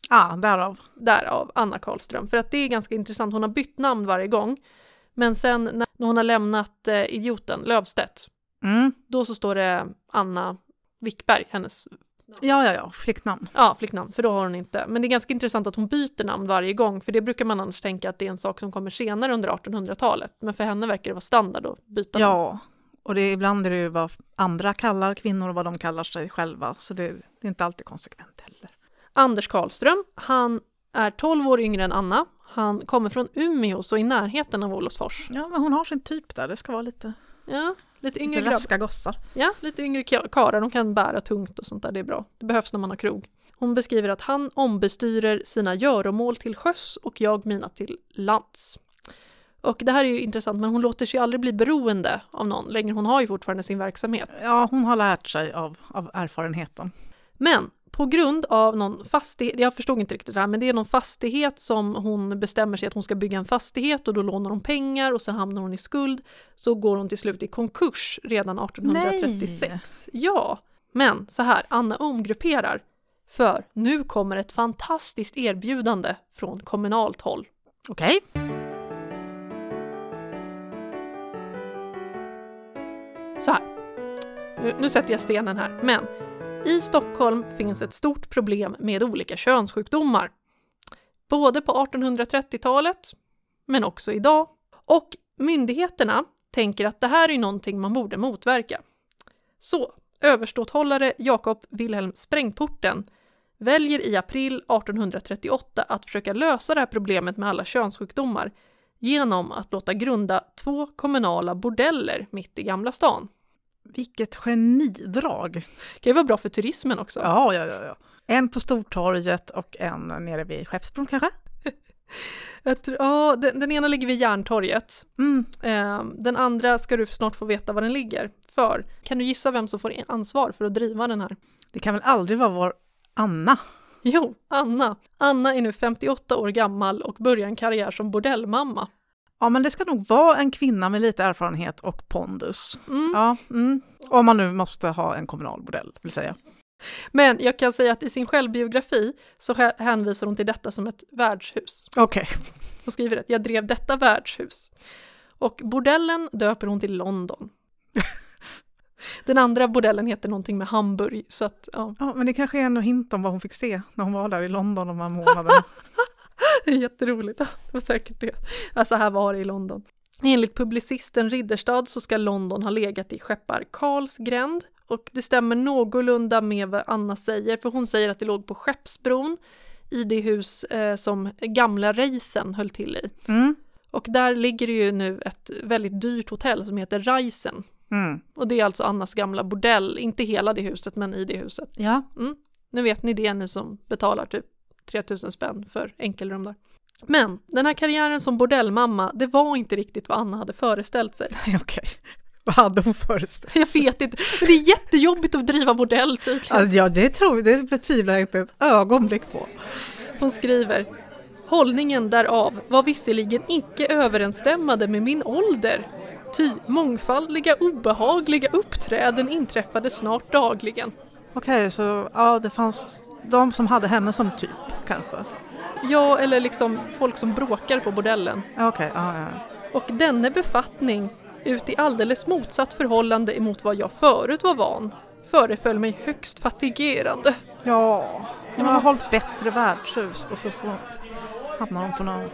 Speaker 2: Ja, därav.
Speaker 1: därav Anna Karlström. För att det är ganska intressant, hon har bytt namn varje gång. Men sen när när hon har lämnat eh, idioten Löfstedt,
Speaker 2: Mm.
Speaker 1: då så står det Anna Wickberg, hennes
Speaker 2: Ja, ja, ja, flicknamn.
Speaker 1: ja, flicknamn, för då har hon inte. Men det är ganska intressant att hon byter namn varje gång, för det brukar man annars tänka att det är en sak som kommer senare under 1800-talet. Men för henne verkar det vara standard att byta namn.
Speaker 2: Ja, och det, är- ibland är det ju vad andra kallar kvinnor och vad de kallar sig själva. Så det, det är inte alltid konsekvent heller.
Speaker 1: Anders Karlström, han är 12 år yngre än Anna. Han kommer från Umeå, så i närheten av Olofsfors.
Speaker 2: Ja, men hon har sin typ där. Det ska vara lite,
Speaker 1: Ja, lite yngre
Speaker 2: lite
Speaker 1: grabb.
Speaker 2: raska gossar.
Speaker 1: Ja, lite yngre ka- karlar, de kan bära tungt och sånt där, det är bra. Det behövs när man har krog. Hon beskriver att han ombestyrer sina göromål till sjöss och jag mina till lands. Och det här är ju intressant, men hon låter sig aldrig bli beroende av någon längre. Hon har ju fortfarande sin verksamhet.
Speaker 2: Ja, hon har lärt sig av, av erfarenheten.
Speaker 1: Men på grund av någon fastighet, jag förstod inte riktigt det här, men det är någon fastighet som hon bestämmer sig att hon ska bygga en fastighet och då lånar hon pengar och sen hamnar hon i skuld. Så går hon till slut i konkurs redan 1836. Ja, men så här, Anna omgrupperar. För nu kommer ett fantastiskt erbjudande från kommunalt håll.
Speaker 2: Okej.
Speaker 1: Så här. Nu, nu sätter jag stenen här. Men i Stockholm finns ett stort problem med olika könssjukdomar. Både på 1830-talet, men också idag. Och myndigheterna tänker att det här är någonting man borde motverka. Så överståthållare Jakob Wilhelm Sprängporten väljer i april 1838 att försöka lösa det här problemet med alla könssjukdomar genom att låta grunda två kommunala bordeller mitt i Gamla stan.
Speaker 2: Vilket genidrag!
Speaker 1: Det kan ju vara bra för turismen också.
Speaker 2: Ja, ja, ja, ja. En på Stortorget och en nere vid Skeppsbron kanske?
Speaker 1: Jag tror, ja, den, den ena ligger vid Järntorget.
Speaker 2: Mm.
Speaker 1: Eh, den andra ska du snart få veta var den ligger. För, kan du gissa vem som får ansvar för att driva den här?
Speaker 2: Det kan väl aldrig vara vår Anna?
Speaker 1: Jo, Anna. Anna är nu 58 år gammal och börjar en karriär som bordellmamma.
Speaker 2: Ja, men det ska nog vara en kvinna med lite erfarenhet och pondus.
Speaker 1: Mm.
Speaker 2: Ja, mm. Om man nu måste ha en kommunal bordell, vill säga.
Speaker 1: Men jag kan säga att i sin självbiografi så hä- hänvisar hon till detta som ett värdshus.
Speaker 2: Okej.
Speaker 1: Hon skriver att jag drev detta värdshus. Och bordellen döper hon till London. Den andra bordellen heter någonting med Hamburg, så att ja,
Speaker 2: Ja, men det kanske är en hint om vad hon fick se när hon var där i London de här månaderna.
Speaker 1: det är jätteroligt. Ja, det var säkert det. Alltså här var det i London. Enligt publicisten Ridderstad så ska London ha legat i skeppar Karls gränd och det stämmer någorlunda med vad Anna säger, för hon säger att det låg på Skeppsbron i det hus eh, som gamla Reisen höll till i.
Speaker 2: Mm.
Speaker 1: Och där ligger det ju nu ett väldigt dyrt hotell som heter Reisen.
Speaker 2: Mm.
Speaker 1: Och det är alltså Annas gamla bordell, inte hela det huset men i det huset.
Speaker 2: Ja.
Speaker 1: Nu vet ni det ni som betalar typ 3000 spänn för enkelrum där. Men den här karriären som bordellmamma, det var inte riktigt vad Anna hade föreställt sig.
Speaker 2: Nej, Okej. Vad hade hon föreställt
Speaker 1: Jag vet inte, men det är jättejobbigt att driva bordell tydligen.
Speaker 2: Alltså, ja, det tror det betvivlar jag inte ett ögonblick på.
Speaker 1: Hon skriver Hållningen därav var visserligen icke överensstämmande med min ålder, ty mångfaldiga obehagliga uppträden inträffade snart dagligen.
Speaker 2: Okej, så ja, det fanns de som hade henne som typ kanske.
Speaker 1: Ja, eller liksom folk som bråkar på bordellen.
Speaker 2: Ja, Okej, ja, ja.
Speaker 1: Och denne befattning, ut i alldeles motsatt förhållande emot vad jag förut var van, föreföll mig högst fatigerande.
Speaker 2: Ja, hon har hållit bättre värdshus och så får, hamnar hon på någon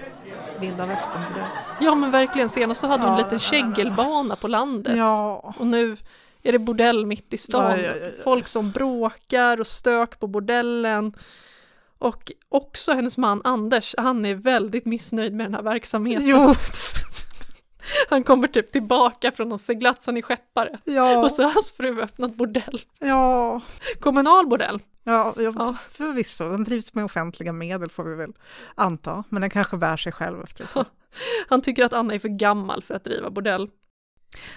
Speaker 2: vilda västern på det.
Speaker 1: Ja, men verkligen, senast så hade hon en
Speaker 2: Ja,
Speaker 1: liten
Speaker 2: ja, ja, ja.
Speaker 1: kägelbana på landet.
Speaker 2: Ja,
Speaker 1: Och nu är det bordell mitt i stan.
Speaker 2: Ja, ja, ja, ja.
Speaker 1: Folk som bråkar och stök på bordellen. Och också hennes man Anders, han är väldigt missnöjd med den här verksamheten.
Speaker 2: jo,
Speaker 1: Han kommer typ tillbaka från någon seglats, han är skeppare.
Speaker 2: ja,
Speaker 1: Och så har hans fru öppnat bordell.
Speaker 2: ja,
Speaker 1: Kommunal bordell.
Speaker 2: ja, ja,
Speaker 1: Ja.
Speaker 2: förvisso. Den drivs med offentliga medel får vi väl anta, men den kanske bär sig själv efter ett tag.
Speaker 1: Han tycker att Anna är för gammal för att driva bordell.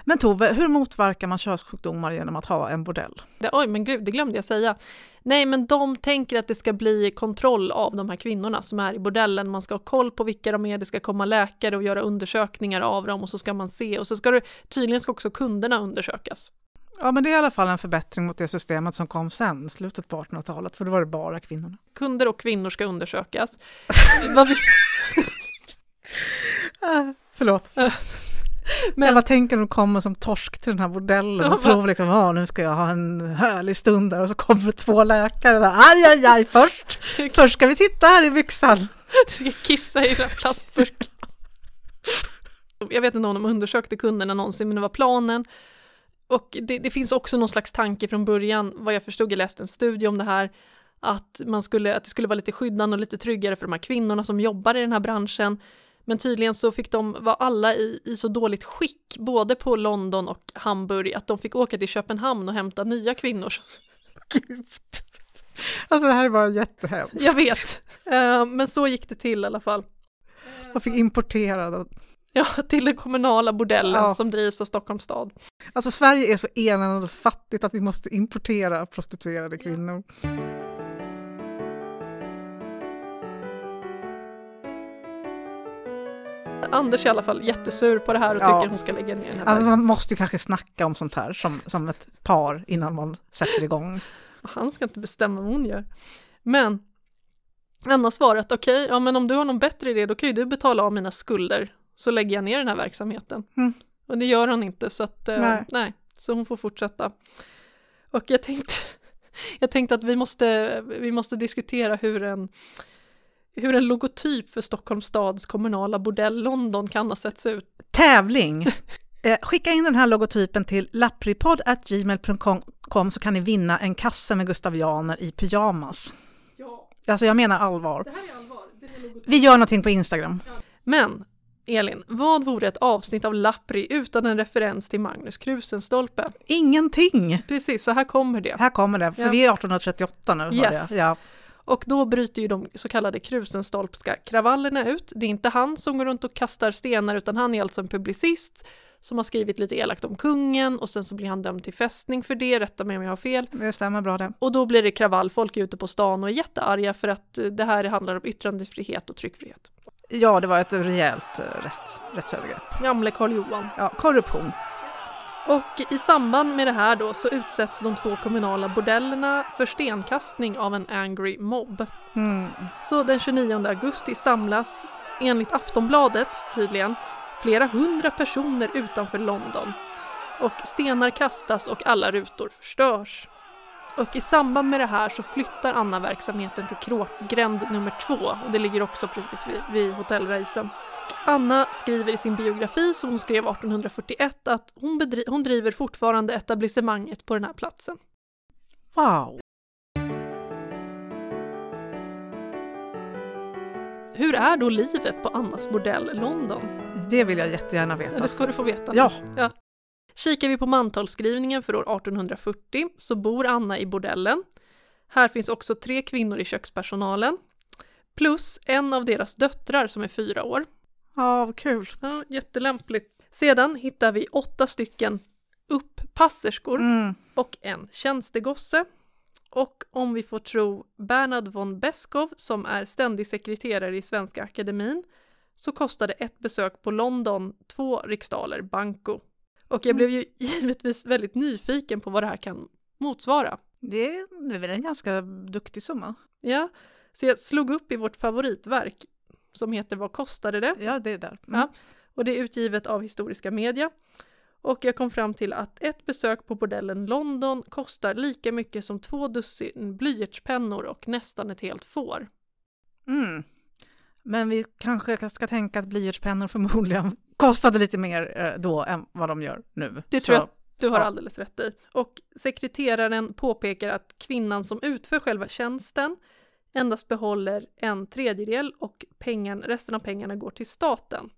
Speaker 2: Men Tove, hur motverkar man könssjukdomar genom att ha en bordell?
Speaker 1: Det, oj, men gud, det glömde jag säga. Nej, men de tänker att det ska bli kontroll av de här kvinnorna som är i bordellen. Man ska ha koll på vilka de är, det ska komma läkare och göra undersökningar av dem och så ska man se och så ska det, tydligen ska också kunderna undersökas.
Speaker 2: Ja, men det är i alla fall en förbättring mot det systemet som kom sen, slutet på 1800-talet, för då var det bara kvinnorna.
Speaker 1: Kunder och kvinnor ska undersökas. Vad vi,
Speaker 2: Förlåt.
Speaker 1: Äh. Men-
Speaker 2: Men... Jag bara tänker när de kommer som torsk till den här bordellen
Speaker 1: Ja,
Speaker 2: och tror liksom, ja nu ska jag ha en härlig stund där och så kommer två läkare och där, aj, aj, aj, först, först ska vi titta här i byxan.
Speaker 1: ska kissa i den här plastburken. Jag vet inte om de undersökte kunderna någonsin, men det var planen. Och det, det finns också någon slags tanke från början, vad jag förstod, jag läste en studie om det här, att, man skulle, att det skulle vara lite skyddande och lite tryggare för de här kvinnorna som jobbar i den här branschen. Men tydligen så fick de, var alla i, i så dåligt skick, både på London och Hamburg, att de fick åka till Köpenhamn och hämta nya kvinnor.
Speaker 2: Gud. Alltså det här är bara jättehemskt.
Speaker 1: Jag vet. Eh, Men så gick det till i alla fall.
Speaker 2: Jag fick importera det.
Speaker 1: Ja, till den kommunala bordellen
Speaker 2: Ja.
Speaker 1: som drivs av Stockholms stad.
Speaker 2: Alltså Sverige är så enande och fattigt att vi måste importera prostituerade kvinnor.
Speaker 1: Anders är i alla fall jättesur på det här och
Speaker 2: Ja.
Speaker 1: tycker hon ska lägga ner den här
Speaker 2: Alltså,
Speaker 1: verksamheten.
Speaker 2: man måste ju kanske snacka om sånt här som, som ett par innan man sätter igång.
Speaker 1: Han ska inte bestämma vad hon gör. Men Anna svarar att okej, ja men om du har någon bättre idé då kan ju du betala av mina skulder så lägger jag ner den här verksamheten.
Speaker 2: Mm.
Speaker 1: Och det gör hon inte så att, eh, nej.
Speaker 2: Nej.
Speaker 1: så hon får fortsätta. Och jag tänkte, jag tänkte att vi måste, vi måste diskutera hur en hur en logotyp för Stockholms stads kommunala bordell London kan ha setts ut.
Speaker 2: Tävling! Eh, skicka in den här logotypen till lappripodd.gmail.com så kan ni vinna en kasse med gustavianer i pyjamas.
Speaker 1: Ja,
Speaker 2: Alltså jag menar allvar.
Speaker 1: det här är allvar. Det är logotyp.
Speaker 2: Vi gör någonting på Instagram.
Speaker 1: Men, Elin, vad vore ett avsnitt av Lappri utan en referens till Magnus Krusenstolpe?
Speaker 2: Ingenting!
Speaker 1: Precis, så här kommer det.
Speaker 2: Här kommer det, för
Speaker 1: Ja.
Speaker 2: vi är 1838 nu. hörde
Speaker 1: Yes.
Speaker 2: jag. Ja.
Speaker 1: Och då bryter ju de så kallade Krusenstolpska kravallerna ut. Det är inte han som går runt och kastar stenar utan han är alltså en publicist som har skrivit lite elakt om kungen och sen så blir han dömd till fästning för det, rätta mig om jag har fel.
Speaker 2: Det stämmer bra det.
Speaker 1: Och då blir det kravall, folk är ute på stan och är jättearga för att eh, det här handlar om yttrandefrihet och tryckfrihet.
Speaker 2: Ja, det var ett rejält eh, rest, rättsövergrepp.
Speaker 1: Gamle Karl Johan.
Speaker 2: Ja, korruption.
Speaker 1: Och i samband med det här då så utsätts de två kommunala bordellerna för stenkastning av en angry mob.
Speaker 2: Mm.
Speaker 1: Så den 29 augusti samlas, enligt Aftonbladet tydligen, flera hundra personer utanför London. Och stenar kastas och alla rutor förstörs. Och i samband med det här så flyttar Anna verksamheten till Kråkgränd nummer två och det ligger också precis vid, vid hotellreisen. Anna skriver i sin biografi som hon skrev 1841 att hon, bedri- hon driver fortfarande etablissemanget på den här platsen.
Speaker 2: Wow!
Speaker 1: Hur är då livet på Annas bordell London?
Speaker 2: Det vill jag jättegärna
Speaker 1: Ja,
Speaker 2: veta.
Speaker 1: Det ska du få veta. nu.
Speaker 2: Ja,
Speaker 1: Kikar vi på mantalsskrivningen för år 1840 så bor Anna i bordellen. Här finns också tre kvinnor i kökspersonalen. Plus en av deras döttrar som är fyra år.
Speaker 2: ja vad kul.
Speaker 1: Ja, jättelämpligt. Sedan hittar vi åtta stycken upppasserskor
Speaker 2: Mm.
Speaker 1: och en tjänstegosse. Och om vi får tro Bernhard von Beskow som är ständig sekreterare i Svenska Akademin så kostade ett besök på London två riksdaler banco. Och jag blev ju givetvis väldigt nyfiken på vad det här kan motsvara.
Speaker 2: Det är, det är väl en ganska duktig summa.
Speaker 1: Ja, så jag slog upp i vårt favoritverk som heter Vad kostade det?
Speaker 2: Ja, det är där. Mm.
Speaker 1: Ja. och det är utgivet av Historiska Media. Och jag kom fram till att ett besök på bordellen London kostar lika mycket som två dussin blyertspennor och nästan ett helt får.
Speaker 2: Mm. Men vi kanske ska tänka att blyertspennor förmodligen kostade lite mer eh, då än vad de gör nu.
Speaker 1: Det tror
Speaker 2: Så-
Speaker 1: jag du har
Speaker 2: Ja.
Speaker 1: alldeles rätt i. Och sekreteraren påpekar att kvinnan som utför själva tjänsten endast behåller en tredjedel och pengen, resten av pengarna går till staten.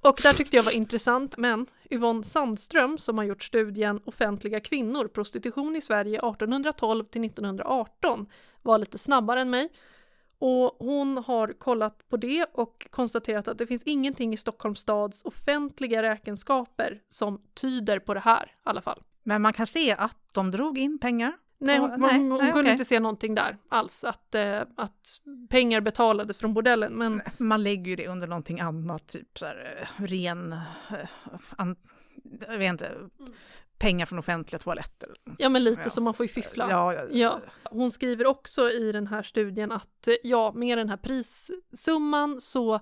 Speaker 1: Och där tyckte jag var intressant, men Yvonne Sandström som har gjort studien Offentliga kvinnor, prostitution i Sverige 1812 till 1918 var lite snabbare än mig. Och hon har kollat på det och konstaterat att det finns ingenting i Stockholms stads offentliga räkenskaper som tyder på det här i alla fall.
Speaker 2: Men man kan se att de drog in pengar.
Speaker 1: Nej,
Speaker 2: Ja,
Speaker 1: hon,
Speaker 2: nej,
Speaker 1: hon, hon
Speaker 2: nej,
Speaker 1: kunde
Speaker 2: okej.
Speaker 1: inte se någonting där alls, att, eh, att pengar betalades från bordellen. Men
Speaker 2: Man lägger ju det under någonting annat, typ så här eh, ren, eh, an, jag vet inte, pengar från offentliga toaletter.
Speaker 1: ja, men lite
Speaker 2: Ja.
Speaker 1: så man får ju fiffla.
Speaker 2: Ja, ja,
Speaker 1: Ja, hon skriver också i den här studien att eh, ja, med den här prissumman så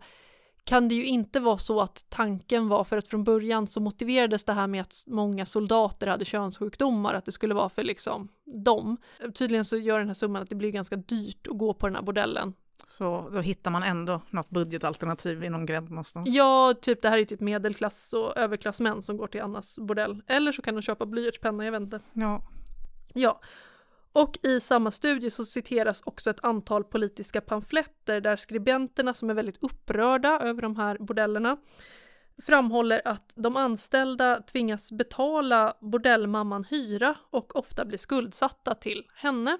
Speaker 1: kan det ju inte vara så att tanken var, för att från början så motiverades det här med att s- många soldater hade könssjukdomar, att det skulle vara för liksom dem. Tydligen så gör den här summan att det blir ganska dyrt att gå på den här bordellen.
Speaker 2: Så då hittar man ändå något budgetalternativ inom gränd någonstans.
Speaker 1: Ja, typ det här är ju typ medelklass och överklassmän som går till Annas bordell. Eller så kan de köpa blyertspenna, jag vet inte.
Speaker 2: Ja.
Speaker 1: Ja. Och i samma studie så citeras också ett antal politiska pamfletter där skribenterna som är väldigt upprörda över de här bordellerna framhåller att de anställda tvingas betala bordellmamman hyra och ofta blir skuldsatta till henne.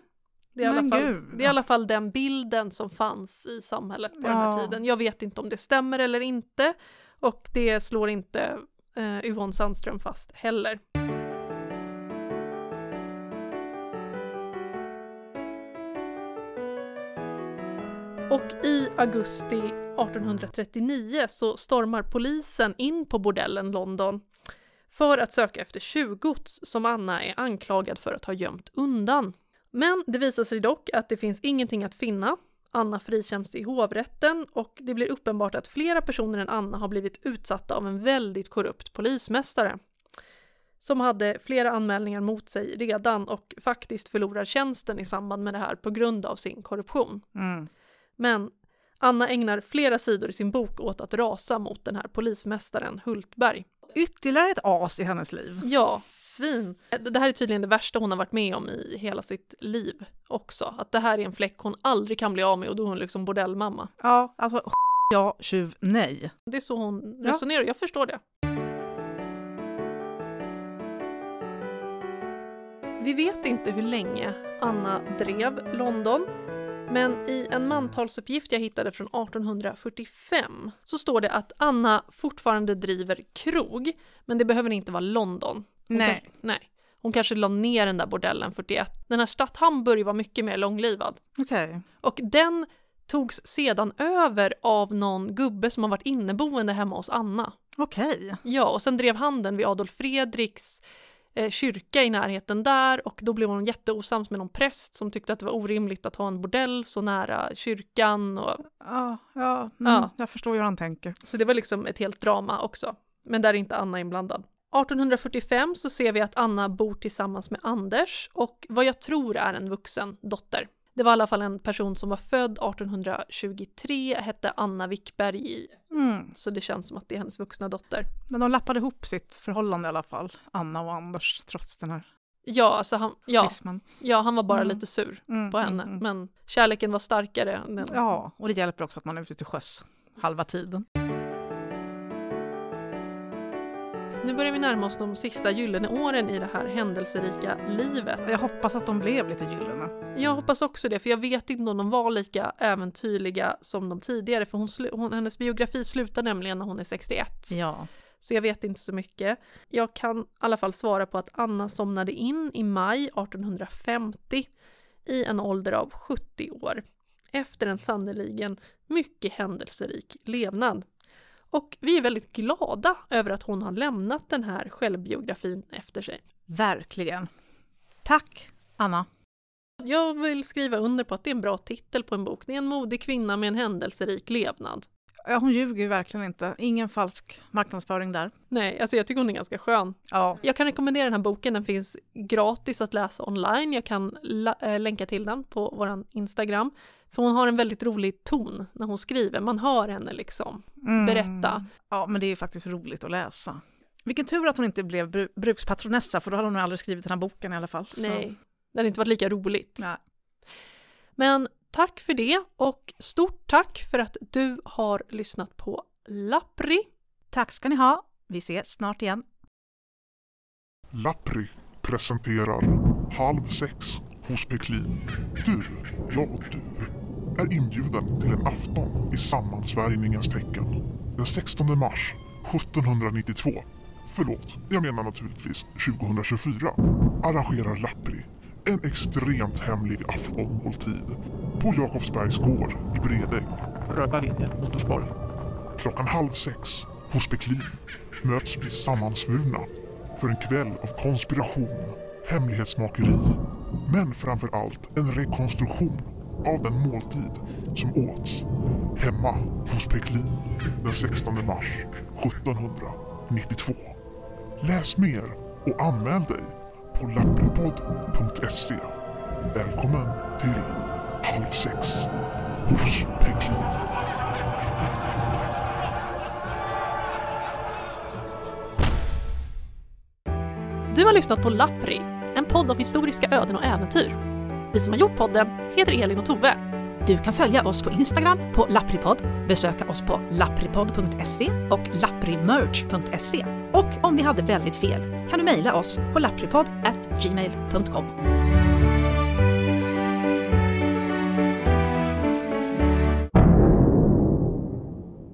Speaker 1: Det är, i alla
Speaker 2: Men
Speaker 1: fall,
Speaker 2: gud.
Speaker 1: det är i alla fall den bilden som fanns i samhället på den här
Speaker 2: Ja.
Speaker 1: tiden. Jag vet inte om det stämmer eller inte och det slår inte eh, Yvonne Sandström fast heller. Och i augusti 1839 så stormar polisen in på bordellen London för att söka efter tjuvgods som Anna är anklagad för att ha gömt undan. Men det visar sig dock att det finns ingenting att finna. Anna frikänns i hovrätten och det blir uppenbart att flera personer än Anna har blivit utsatta av en väldigt korrupt polismästare som hade flera anmälningar mot sig redan och faktiskt förlorar tjänsten i samband med det här på grund av sin korruption.
Speaker 2: Mm.
Speaker 1: Men Anna ägnar flera sidor i sin bok åt att rasa mot den här polismästaren Hultberg.
Speaker 2: Ytterligare ett as i hennes liv.
Speaker 1: Ja, svin. Det här är tydligen det värsta hon har varit med om i hela sitt liv också. Att det här är en fläck hon aldrig kan bli av med och då är hon liksom bordellmamma.
Speaker 2: Ja, alltså ja, tjuv, nej.
Speaker 1: Det är så hon
Speaker 2: Ja.
Speaker 1: resonerar, jag förstår det. Vi vet inte hur länge Anna drev London, men i en mantalsuppgift jag hittade från 1845 så står det att Anna fortfarande driver krog, men det behöver inte vara London. Hon
Speaker 2: Nej.
Speaker 1: Kanske, nej. Hon kanske la ner den där bordellen 41. Den här stadt Hamburg var mycket mer långlivad.
Speaker 2: Okej.
Speaker 1: Och den togs sedan över av någon gubbe som har varit inneboende hemma hos Anna.
Speaker 2: Okej.
Speaker 1: Ja, och sen drev han den vid Adolf Fredriks eh, kyrka i närheten där och då blev hon jätteosams med någon präst som tyckte att det var orimligt att ha en bordell så nära kyrkan. Och,
Speaker 2: Ja, ja, mm,
Speaker 1: Ja.
Speaker 2: jag förstår hur han tänker.
Speaker 1: så det var liksom ett helt drama också. Men där är inte Anna inblandad. 1845 så ser vi att Anna bor tillsammans med Anders och vad jag tror är en vuxen dotter. Det var i alla fall en person som var född 1823, hette Anna Wickberg,
Speaker 2: Mm.
Speaker 1: så det känns som att det är hennes vuxna dotter.
Speaker 2: Men de lappade ihop sitt förhållande i alla fall, Anna och Anders, trots den här
Speaker 1: Ja, alltså han, ja,
Speaker 2: schismen.
Speaker 1: ja, han var bara
Speaker 2: Mm.
Speaker 1: lite sur
Speaker 2: Mm,
Speaker 1: på henne,
Speaker 2: mm, mm.
Speaker 1: men kärleken var starkare. Men...
Speaker 2: Ja, och det hjälper också att man är ute till sjöss halva tiden.
Speaker 1: Nu börjar vi närma oss de sista gyllene åren i det här händelserika livet.
Speaker 2: Jag hoppas att de blev lite gyllene.
Speaker 1: Jag hoppas också det, för jag vet inte om de var lika äventyrliga som de tidigare, för hon slu- hon, hennes biografi slutar nämligen när hon är 61.
Speaker 2: Ja.
Speaker 1: Så jag vet inte så mycket. Jag kan i alla fall svara på att Anna somnade in i maj 1850 i en ålder av 70 år efter en sannoliken mycket händelserik levnad. Och vi är väldigt glada över att hon har lämnat den här självbiografin efter sig.
Speaker 2: Verkligen. Tack, Anna.
Speaker 1: Jag vill skriva under på att det är en bra titel på en bok. Det är en modig kvinna med en händelserik levnad.
Speaker 2: Ja, hon ljuger ju verkligen inte. Ingen falsk marknadsföring där.
Speaker 1: Nej, alltså jag tycker hon är ganska skön.
Speaker 2: Ja.
Speaker 1: Jag kan rekommendera den här boken, den finns gratis att läsa online. Jag kan la- eh, länka till den på vår Instagram. För hon har en väldigt rolig ton när hon skriver, man hör henne liksom
Speaker 2: Mm.
Speaker 1: berätta.
Speaker 2: Ja, men det är ju faktiskt roligt att läsa. Vilken tur att hon inte blev bru- brukspatronessa, för då hade hon aldrig skrivit den här boken i alla fall. Så.
Speaker 1: Nej, det hade inte varit lika roligt.
Speaker 2: Nej.
Speaker 1: Men tack för det och stort tack för att du har lyssnat på Lappri.
Speaker 2: Tack ska ni ha. Vi ses snart igen.
Speaker 4: Lappri presenterar Halv sex hos Peklin. Du, jag och du är inbjuden till en afton i sammansvärjningens tecken. Den 16 mars 1792. Förlåt, jag menar naturligtvis 2024. Arrangerar Lappri en extremt hemlig aftonmåltid på Jakobsbergs gård i Bredäng.
Speaker 5: Röda linjen, motorspår.
Speaker 4: Klockan halv sex hos Beklin möts vi sammansvurna för en kväll av konspiration, hemlighetsmakeri men framför allt en rekonstruktion av den måltid som åts hemma hos Beklin den 16 mars 1792. Läs mer och anmäl dig på lappripodd.se. Välkommen till Halv sex hos Peklin.
Speaker 1: Du har lyssnat på Lappri, en podd om historiska öden och äventyr. Vi som har gjort podden heter Elin och Tove.
Speaker 2: Du kan följa oss på Instagram på lappripod, besöka oss på lappripod.se och lapprimerch.se. Och om vi hade väldigt fel kan du mejla oss på lappripod@gmail.com.